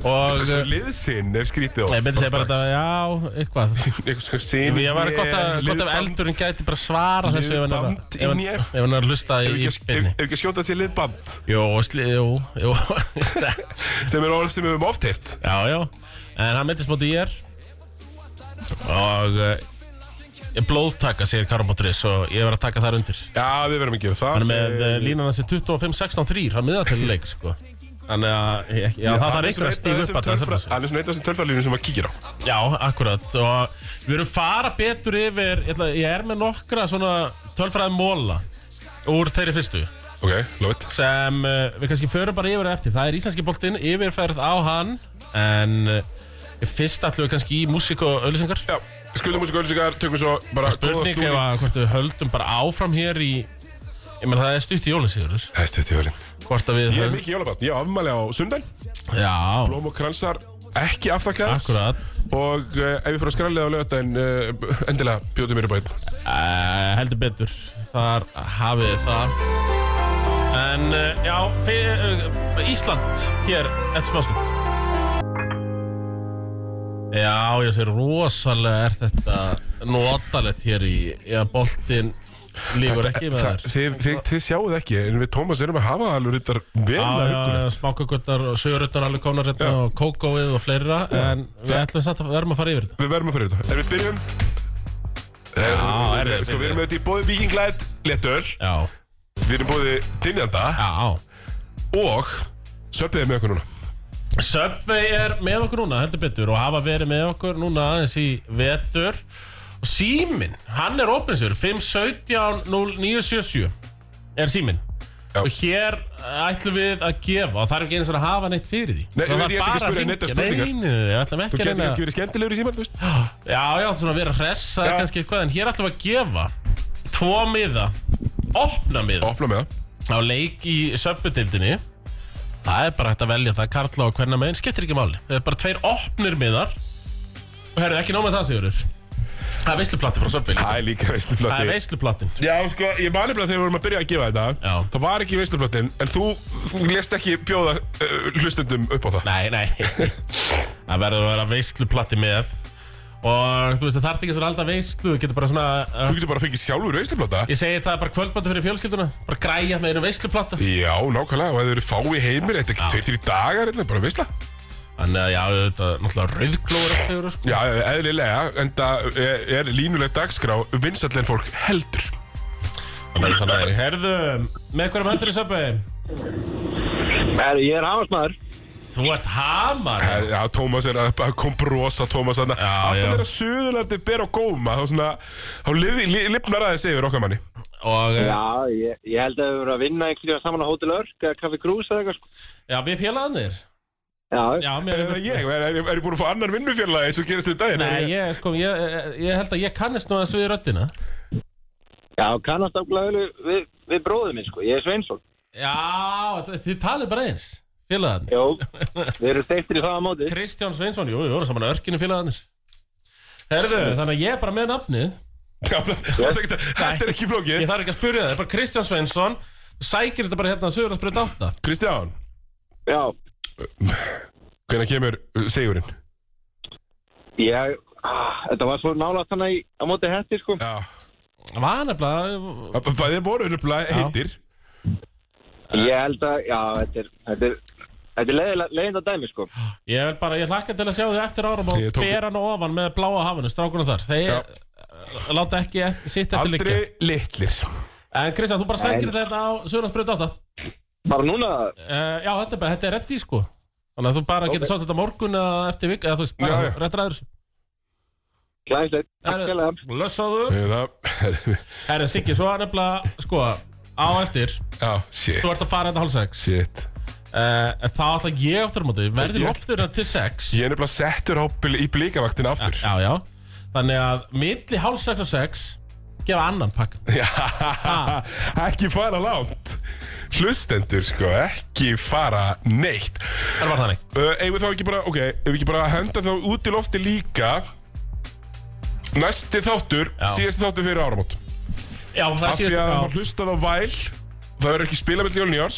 S3: Og
S2: Sko,
S3: Nei,
S2: liðsinn er skrítið orð,
S3: ég myndi segja bara
S2: strax.
S3: þetta, já, eitthvað
S2: Eitthvað sko sin
S3: Ég var gott að, gott að eldurinn gæti bara svara þessu ef hann er
S2: Liðband
S3: að-
S2: í
S3: ef hann-
S2: mér.
S3: ef hann er að hlusta
S2: Ef
S3: í í
S2: ekki- ef-
S3: beinni
S2: ef ekki að skjóta sér liðband
S3: Jó, sli, jú, jú
S2: Sem er orð sem við höfum oft heyrt
S3: Já, já En hann myndist móti ég er Og uh, ég blóðtaka, segir Karabótturis Og ég verð að taka þar undir
S2: Já, við verðum að gera það
S3: Hann er með uh, línana sem 25-16-3 Hann miðatæli leik, sko Þannig að ég- já, það þarf einhver að stíða upp að það
S2: tölfra, Hann er svona einn af þessum tölfralínum sem maður kíkir á
S3: Já, akkurat og við erum fara betur yfir ég, ætla, ég er með nokkra svona tölfræði móla úr þeirri fyrstu
S2: Ok, lofið
S3: sem uh, við kannski förum bara yfir á eftir það er íslenski boltinn, yfirferð á hann en uh, fyrst ætlum við kannski í músík og auðlýsingar
S2: Já, skuldum músík og ölsingar, tökum svo bara góða
S3: Spurning ef
S2: snúning
S3: að hvort við höldum bara áfram hér í ég menn það er stutt í jólinn Sigurður
S2: Hæstu þetta jólin
S3: hvort að við
S2: Ég er mikið jólabann, ég á afmæli á sundan
S3: Já,
S2: Blóm og kransar ekki afþakkaðar
S3: akkurat
S2: Og uh, ef við fyrir að skrænlega á lögadaginn uh, Endilega bjóðum mér upp á hérna. einn
S3: Uh, heldur betur Þar hafið þið það En uh, já fyr, uh, Ísland hér eftir smástund Já, ég sé rosalega er þetta notalegt hér í Já, boltinn lífur ekki með þær
S2: Þa- Eh, Þið, þið, þið sjáuð ekki, en við Tómas erum að hafa alveg rittar vel að hugulegt.
S3: Smákuguttar og söguruttar alveg komnar hérna og kókóið og fleira En við ætlum satt að verðum að fara yfir þetta
S2: Við verðum að fara yfir þetta. En við byrjum... Já,
S3: erfitt,
S2: sko, við
S3: erfitt.
S2: erum auðvitað í bóði vikinglætt, letur,
S3: Já,
S2: við erum bóði dynjanda
S3: já
S2: og söpið er með okkur núna.
S3: Subway er með okkur núna, heldur betur og hafa verið með okkur núna aðeins í vetur og síminn, hann er opinsur 517-0977 er síminn
S2: Já.
S3: og hér ætlum við að gefa og það er ekki einu svona að hafa neitt fyrir því
S2: Nei, ég
S3: Það
S2: veit, ég ætla ekki að
S3: þarf bara
S2: spyrja neitt að
S3: hringja.
S2: spurningar.
S3: Nei, nei, nei, ég ætlum
S2: Þú getur
S3: ekki að reyna
S2: kannski verið skemmtilegur í síman, þú veist.
S3: Já, já, svona að vera hress að
S2: Já.
S3: kannski eitthvað en hér ætlum við að gefa tvo miða, opna miða
S2: Opna með það.
S3: á leik í söpudildinni það er bara hægt að velja það karla og hvernig meginn, skiptir ekki máli það er bara tveir opnir miðar og herru ekki nóg með það Sigurður það er veisluplati frá söpvill
S2: Það er líka
S3: það er
S2: veistluplotti.
S3: veisluplatin
S2: Já, sko, ég mani bara þegar við vorum að byrja að gefa þetta.
S3: Já.
S2: Það var ekki veistluplotin, en þú þú lést ekki bjóða uh, hlustendum upp á það.
S3: nei, nei það verður að vera veisluplati með og þú veist það þarf ekki svona alltaf veislu þú getur bara svona uh,
S2: Þú getur bara að fengið sjálfur veisluplota.
S3: ég segi það er bara kvöldbata fyrir fjölskylduna bara græja með einu veisluplata
S2: Já, nákvæmlega, og ef þau eru fái heimir, þetta er ekki tveir, þrír dagar, þetta er bara veisla.
S3: þannig að já, þetta er náttúrulega rauðglóður allt, Sigurður, sko.
S2: Já, eðlilega, en það er, er línuleg dagskrá vinsallin fólk heldur.
S3: Þannig að svona, herðu, með hverjum hendur í söpvei?
S4: Herru, ég er hafasmaður.
S3: Þú ert hamar
S2: Eh, Já, Tómas er að að kom brosa Tómas þarna.
S3: Já,
S2: Alltaf
S3: já.
S2: þegar Suðurlandi ber á góma, þá svona, þá lifi, li, lifnar aðeins yfir okkar manni.
S3: og eh,
S4: Já, ég, ég held að við vorum að vinna einhvern veginn saman á Hotel Örk eða Café Krús eða eitthvað. sko.
S3: Já, við félagarnir
S4: Já,
S3: Já, mér
S2: Eða
S3: er
S2: Eh, ég, er, er, er ég búin að fá annar vinnufélagi eins og gerist við daginn?
S3: Nei,
S2: ég...
S3: ég, sko, ég, ég- ég held að ég kannist nú þessu við röddina
S4: já kannast ákveðlega vel við, við bróðum minn, sko. Ég er Sveinsson.
S3: Já, þi- þið talið bara eins Félagarnir
S4: Jó, við erum steiktir í það á móti.
S3: Kristján Sveinsson, jú, við vorum saman að örkinu félagarnir Herðu, þannig að ég er bara með nafnið
S2: Já, það, það, það, þetta er ekki flókið.
S3: Ég þarf ekki að spyrja það, bara Kristján Sveinsson Sækir þetta bara hérna að sögur að spyrja dátta
S2: Kristján,
S4: Já,
S2: hvenær kemur uh, sigurinn?
S4: ég, ah, þetta var svo nálaft hann í, á móti hætti, sko.
S2: Já,
S3: Var nefnilega,
S2: það það voru nefnilega hittir.
S4: Ég held að, já, þetta er, þetta er, þetta er leiðinda, leiðinda dæmi, sko.
S3: ég vil bara, ég hlakka til að sjá þið eftir árum og
S2: Ég tók-
S3: bera hann ofan með bláa hafinu, strákunum þar Þeir
S2: Já.
S3: eh, láta ekki eftir, sitt eftir
S2: Aldrei
S3: liggja
S2: litlir.
S3: En Kristján, þú bara sækir þetta á Söðlandsbreyta 8 uh,
S4: Bara núna,
S3: Eh, Já, þetta er, bara- þetta er reddi sko Þannig að þú bara getur sátt þetta á morgun eða eftir vik eða þú veist, bara
S2: Já, já.
S3: réttra aður
S4: klæðislegt, takk fyrir það.
S3: Lössaðu
S2: Eh, Það,
S3: Herri, Siggi, svo er nefnilega, sko á eftir,
S2: já, shit,
S3: þú ert að fara þetta hálf sex
S2: shit.
S3: uh, En þá ætla ég aftur á móti verði
S2: Ég-
S3: loftur til sex
S2: Ég er nefnilega settur á, bl- í blíkavaktin aftur
S3: Já, já Þannig að milli hálf sex og sex gefa annan pakka
S2: Já,
S3: Ah.
S2: Ekki fara langt Hlustendur sko, ekki fara neitt
S3: Það var þannig
S2: uh, Eigum við þá ekki bara, ok Eigum við ekki bara að henda þá út í lofti líka Næsti þáttur
S3: Já.
S2: Síðasti þáttur fyrir áramót
S3: Já, það
S2: Af því
S3: síðast
S2: að það
S3: já.
S2: var hlustað á væl
S3: Mhm.
S2: Það verður ekki spila með jólun í árs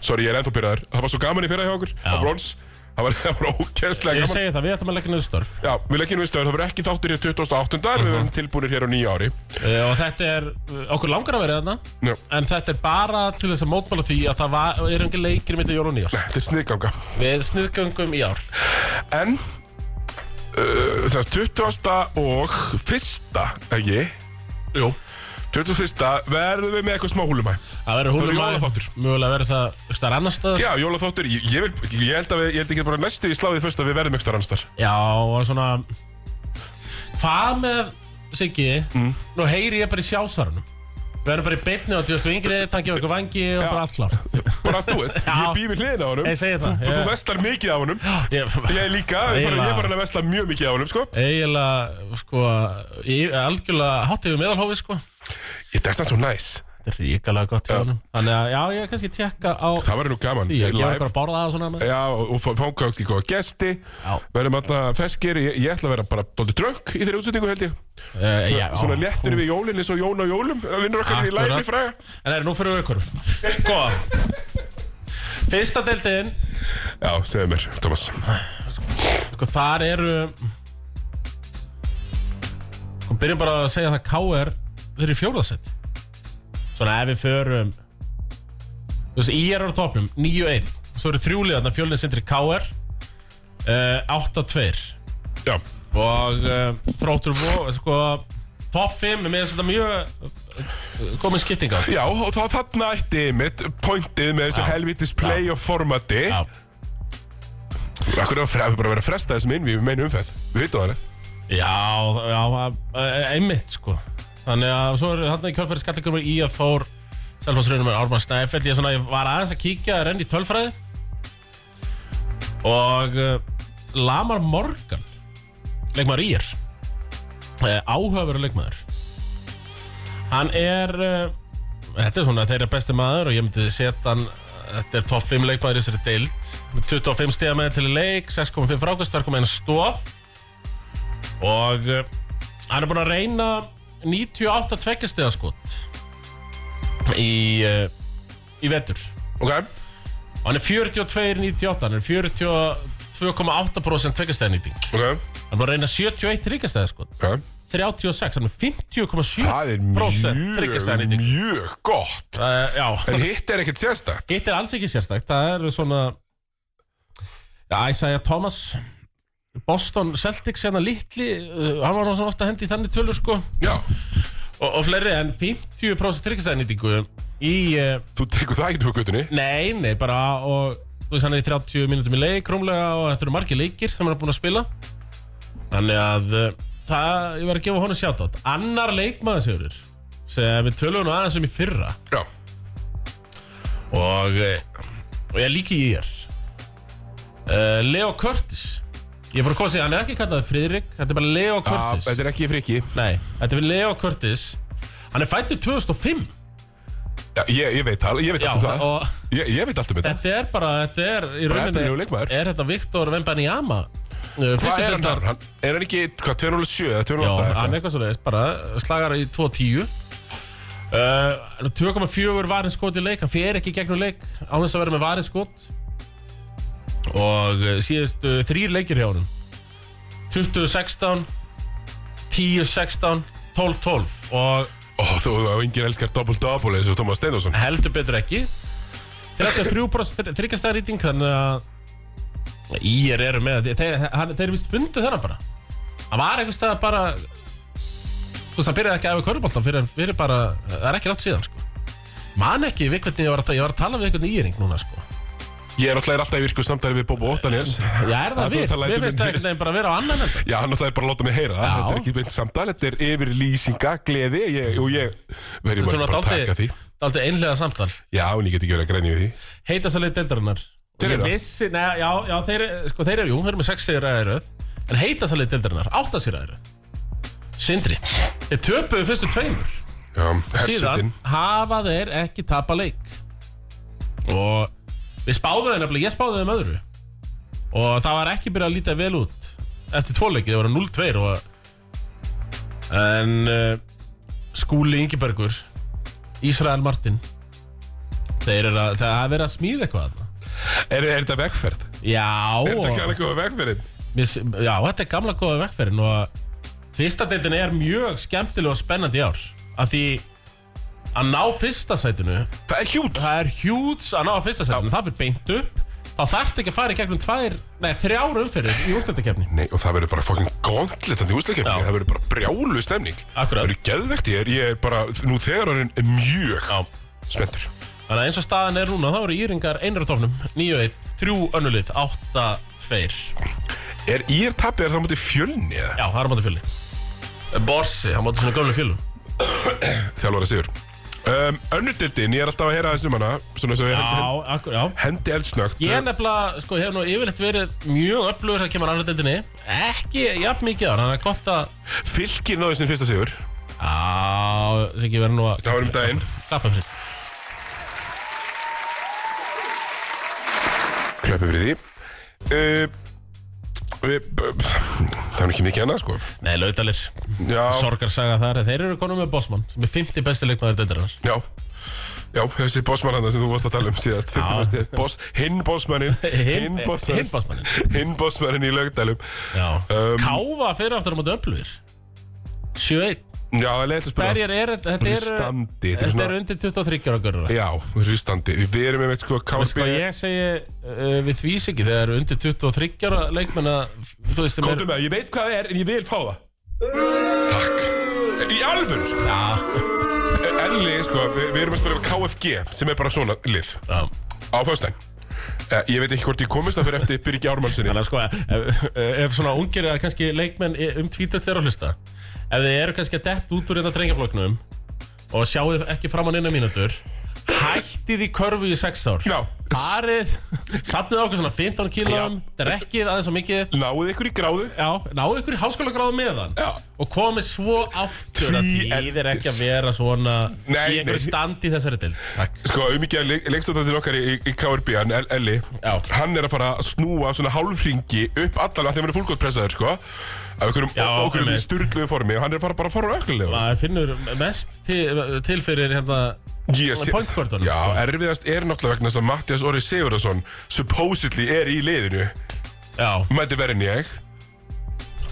S2: Sorry, ég er ennþá byrjaður Það var svo gaman í fyrra hjá okkur Á brons Það var, það var ókjenslega
S3: Ég
S2: gaman.
S3: segi það, við ætlum að leggja niður störf
S2: Já, við leggjum við stöður, það verður ekki þáttur hér 28. en
S3: Mhm.
S2: Við verðum tilbúinir hér á nýja ári.
S3: uh, Og þetta er, uh, okkur langar að vera þarna
S2: Já,
S3: En þetta er bara til þess að mótmála því að það var, er engin leikir mitt í jól og nýjás
S2: þetta er sniðganga.
S3: Við sniðgöngum í ár
S2: En, uh, það er 20. og 1. ekki?
S3: Jú
S2: 21. verðum við með eitthvað smá húlumæ.
S3: Það verður
S2: verður
S3: húlum
S2: jólaþáttur.
S3: Mögulega verður það einhvers staðar annars staðar
S2: Já, jólaþáttur, ég, ég, vil, ég held að við, ég held ekki bara næstu í sláðið fyrst að við verðum ekstra annstar.
S3: Já, og svona Hvað með Siggi Nú heyri ég bara í sjásvaranum Við verðum bara í beinni og djóðstu yngri Tankið okkur vangi og bara allt klár
S2: Bara þú veit,
S3: Já.
S2: ég býð við hliðina á honum.
S3: Ég segi það,
S2: Þú,
S3: ég-
S2: þú vestar mikið á honum.
S3: Ég
S2: Ég líka, ég fara, ég fara að vesla mjög mikið á honum, sko.
S3: Eiginlega, sko Ég er algjörlega hátt yfir meðalhófi, sko
S2: Ég dæst hann svo næs.
S3: Þetta er ríkalega gott hjá honum Þannig að, já, ég er kannski að tjekka á
S2: Það verður nú gaman.
S3: Því að gefa
S2: Live.
S3: okkur að borða það og svona með
S2: Já, og og fá- fanga ekki góða gesti
S3: Já.
S2: Verðum alltaf feskir Ég, ég ætla að vera bara dóldi dröng í þeirri útsendingu held ég
S3: uh, já,
S2: Svona
S3: já.
S2: léttir við jólinn eins og Jón á jólum Vinnur okkar í
S3: Akkurat.
S2: læni fræga
S3: En það er nú fyrir ykkur Sko Fyrsta deildin
S2: Já, segðu mér, Thomas
S3: Sko þar eru Sko byrjum bara að segja það K.R. Þeir eru í fjórðasett Svona ef við förum Þú veist, IR eru á topnum 9-1 Svo eru þrjúliðarna fjölnið sindri K.R. Uh, 8-2
S2: Já,
S3: Og uh, þróttur vó Sko Top 5 Mér finnst þetta mjög uh, Komin skipting á
S2: Já og þá þarna ætti mitt Pointið með þessu
S3: Já.
S2: helvitis play og formati
S3: Já
S2: Akkur er að fre- bara að vera að fresta þessum inn Við meinu umfæð, við veitum það ne?
S3: Já, já, eh, einmitt sko Þannig að svo er þarna í E kjölfæri skallikur í að fór Selfossrunum er Ármann Snæfell ég, svona, ég var aðeins að kíkja renn í tölfræði og uh, Lamar Morgan leikmaður ír uh, áhöfur leikmaður hann er uh, þetta er svona þeirra besti maður og ég myndi setja hann eh, þetta er topp 5 leikmaður í þessari deild Með 25 stiga með til í leik 6,5 frákast, 2,1 stof og uh, hann er búinn að reyna 98 tveggjastegaskot í, uh, í vetur
S2: Ok,
S3: og hann er 42,98 hann er 42,8% tveggjasteganýting
S2: ok,
S3: hann er búinn að reyna 71 ríkastegaskot
S2: ok
S3: 36, hann er 50,7%
S2: Það er mjög,
S3: ríkasteganýting
S2: mjög gott
S3: uh, Já,
S2: En hitt er ekkert sérstakt
S3: hitt er alls ekki sérstakt það eru svona Já, Isaiah Thomas Boston Celtics hérna litli uh, hann var nú svona ofta hendi í þannig tölur sko
S2: Já,
S3: og, og fleiri en 50% tryggstæðnýtingu í, uh,
S2: þú tekur það ekki úr gutunni
S3: nei, nei, bara og þú veist hann er í 30 mínútum í leik krumlega og þetta eru margir leikir sem hann er búin að spila þannig að uh, það, ég var að gefa honum sjátt annar leikmaður sigurður sem við tölum nú aðeins um í fyrra
S2: Já,
S3: og, eh, og ég líki í þér uh, Leo Curtis ég er bara að koma að segja, hann er ekki kallað Friðrik þetta er bara Leo
S2: Ah,
S3: Curtis
S2: þetta er ekki friki
S3: nei, þetta er Leo Curtis hann er fættur 2005
S2: Já, ég, ég veit, al- ég veit
S3: já,
S2: allt um það
S3: og
S2: ég, ég veit allt um þetta
S3: Þetta er bara, þetta er
S2: Bara
S3: í
S2: efnilegur
S3: rauninni
S2: leikmaður.
S3: Er þetta Viktor Vembanyama
S2: Hvað er hann þar? Hann- Er hann ekki, hvað, 207 eða
S3: Já,
S2: 208
S3: hann er
S2: eitthvað?
S3: eitthvað svo leiðis, bara slagar í 2.10 uh, 2.4 varinn skot í leik Hann fer ekki í gegnum leik á þess að vera með varinn skot Og uh, síðustu uh, þrýr leikir hjá honum 20.16 10.16 12.12 Og
S2: Ó, þú, og enginn elskar double-double eins og Thomas Steindorsson
S3: heldur betur ekki 33% þryggjastæðrýting þannig að Ír eru með þeir, þeir, hann- þeir vist fundu þennan bara hann var einhvers staðar bara þú veist hann byrjaði ekki að hafa köruboltan fyrir, fyrir bara, það er ekki langt síðan sko. man ekki við hvernig ég var að, ég var að tala við einhvern íring núna sko.
S2: Ég er alltaf alltaf í virku samtæri við Bobo Ottaniels
S3: já er
S2: Það
S3: það við,
S2: þú ert að læta
S3: við finnst
S2: mig-
S3: það einhvern veginn bara að vera á annan enda
S2: Já, hann alltaf er bara að láta mig heyra það
S3: Já.
S2: Þetta er ekki beint samtal, þetta er yfirlýsinga, gleði ég, og ég verður bara bara að taka því
S3: daldi einlega samtal
S2: Já, en ég get ekki verið að grænja við því
S3: heitast að leið deildarinnar Og
S2: Þeir
S3: ég
S2: eru það?
S3: vissi, neða, já, já, þeir, sko, þeir eru, jú, þeir eru með 6 sigur aðeiröð En heitast að leið deildarinnar, 8 sigur aðeiröð Sindri Þeir töpuðu fyrstu tveimur
S2: Já,
S3: Síðan
S2: hersetin
S3: hafa þeir ekki tapa leik Og við spáðum þeim nefnilega, ég spáði þeim öðru Og það var ekki byrjað að líta vel út Eftir tvo leiki, þeir voru 0-2 og... En uh, Skúli Ingibergur Ísrael Martin Þeir eru að, það er verið að smíða eitthvað þarna
S2: Er, er þetta vegferð?
S3: Já,
S2: Er þetta
S3: og-
S2: ekki alveg góða vegferðin?
S3: Mér s- Já, þetta er gamla góða vegferðin og fyrsta deildin er mjög skemmtileg og spennandi í ár að því að ná fyrsta sætinu
S2: Það er hjúts
S3: það er hjúts að ná að fyrsta sætinu það fyrir beint upp þá þarftu ekki að fara í gegnum tvær, nei, þrjár umferðir í úrstöndakefni
S2: Nei, og það verður bara fucking gondletandi úsleikefning
S3: Já.
S2: Það verður bara brjálu stemning
S3: Akkurat.
S2: Það verður geðvegt ég er, ég er bara, nú þegar orðin mjög
S3: Já.
S2: spenntur
S3: þannig að eins og staðan er núna þá eru Íringar einra tófnum 9-1, 3 önnulið, 8-2
S2: Er ég tappið er það á móti fjölni eða?
S3: já, það er á móti fjöli Bossi, hann móti svona gömlu fjölum
S2: Þjálfara sigur um, Önnudildin, ég er alltaf að heyra þessum hana Svona þess að
S3: já,
S2: ég
S3: akkur, já
S2: hendi eldsnögt
S3: Ég er nefnilega, sko, hef nú yfirleitt verið mjög öflugur þegar kemur annað deildinni Ekki jafn mikið ára, þannig að gott að
S2: Fylkir náði sinn fyrsta sigur
S3: Já, þess ekki verið nú að
S2: Það var um daginn
S3: Klappa fyrir
S2: Klöppi fyrir því uh, við, Það er nú ekki mikið annað sko
S3: Nei, lautalir
S2: Já,
S3: Sorgarsaga þar, þeir eru konum með Bosman Sem er 50 besti leikmaður deildarinnar
S2: já Já, þessi bossmann hann sem þú varst að tala um síðast 50 mesti, boss, hinn bossmannin
S3: Hinn- hinn bossmanninn.
S2: Hinn bossmannin í lögdælum
S3: Já
S2: Um,
S3: Káfa fyrir aftur á móti öflugir 7-1
S2: Já, það er leitt að spila
S3: Berjar er, þetta eru
S2: Ristandi, þetta er
S3: Þetta
S2: svona
S3: eru undir 23 ára görður
S2: Já, ristandi, við erum með sko
S3: Sko,
S2: KSB
S3: ég segi uh, við því ekki þegar eru undir 23 ára leikmenn að þú veist, þeim
S2: Kóndum með, það, ég veit hvað það er en ég vil fá það Takk Í alvöru sko
S3: Já,
S2: Elli, sko, við, við erum að spila með KFG sem er bara svona lið
S3: já
S2: á föstudaginn Eh, Ég veit ekki hvort ég komist það fyrir eftir Birgi Ármannssoni
S3: Þannig að sko, ef, ef svona ungir eða kannski leikmenn um tvítur þeirra að hlusta Ef þið eru kannski að dett út úr þetta drengjafloknum Og sjáu ekki fram á neina mínútur Hættið í körfu í sex ár
S2: Já.
S3: Farið, safnið á okkur svona 15 kílum Drekkið aðeins og mikið
S2: Náðið ykkur í gráðu
S3: Já, náðu ykkur í háskóla gráðu meðan
S2: Já.
S3: Og komið svo aftur að
S2: Því
S3: tíðir
S2: eftir.
S3: ekki að vera svona
S2: Nei,
S3: Í
S2: nei.
S3: einhverju standi í þessari dild Takk
S2: Sko, auðvitað leik, leikstofnættin okkar í, í KRB, hann El- Elli
S3: Já.
S2: Hann er að fara að snúa svona hálfringi upp allan að þeim verður fólkgótt pressaður, sko Af einhverjum,
S3: Já,
S2: okkur um í
S3: einmitt.
S2: styrluðu formi og hann er að fara bara að fara ökkulega
S3: Maður finnur mest til, til fyrir hérna
S2: Yes,
S3: alveg sko. pointkortunum,
S2: Já, erfiðast er náttúrulega vegna þess að Mattias Orri Sigurðarsson supposedly er í liðinu
S3: Já,
S2: Mæti verið en ég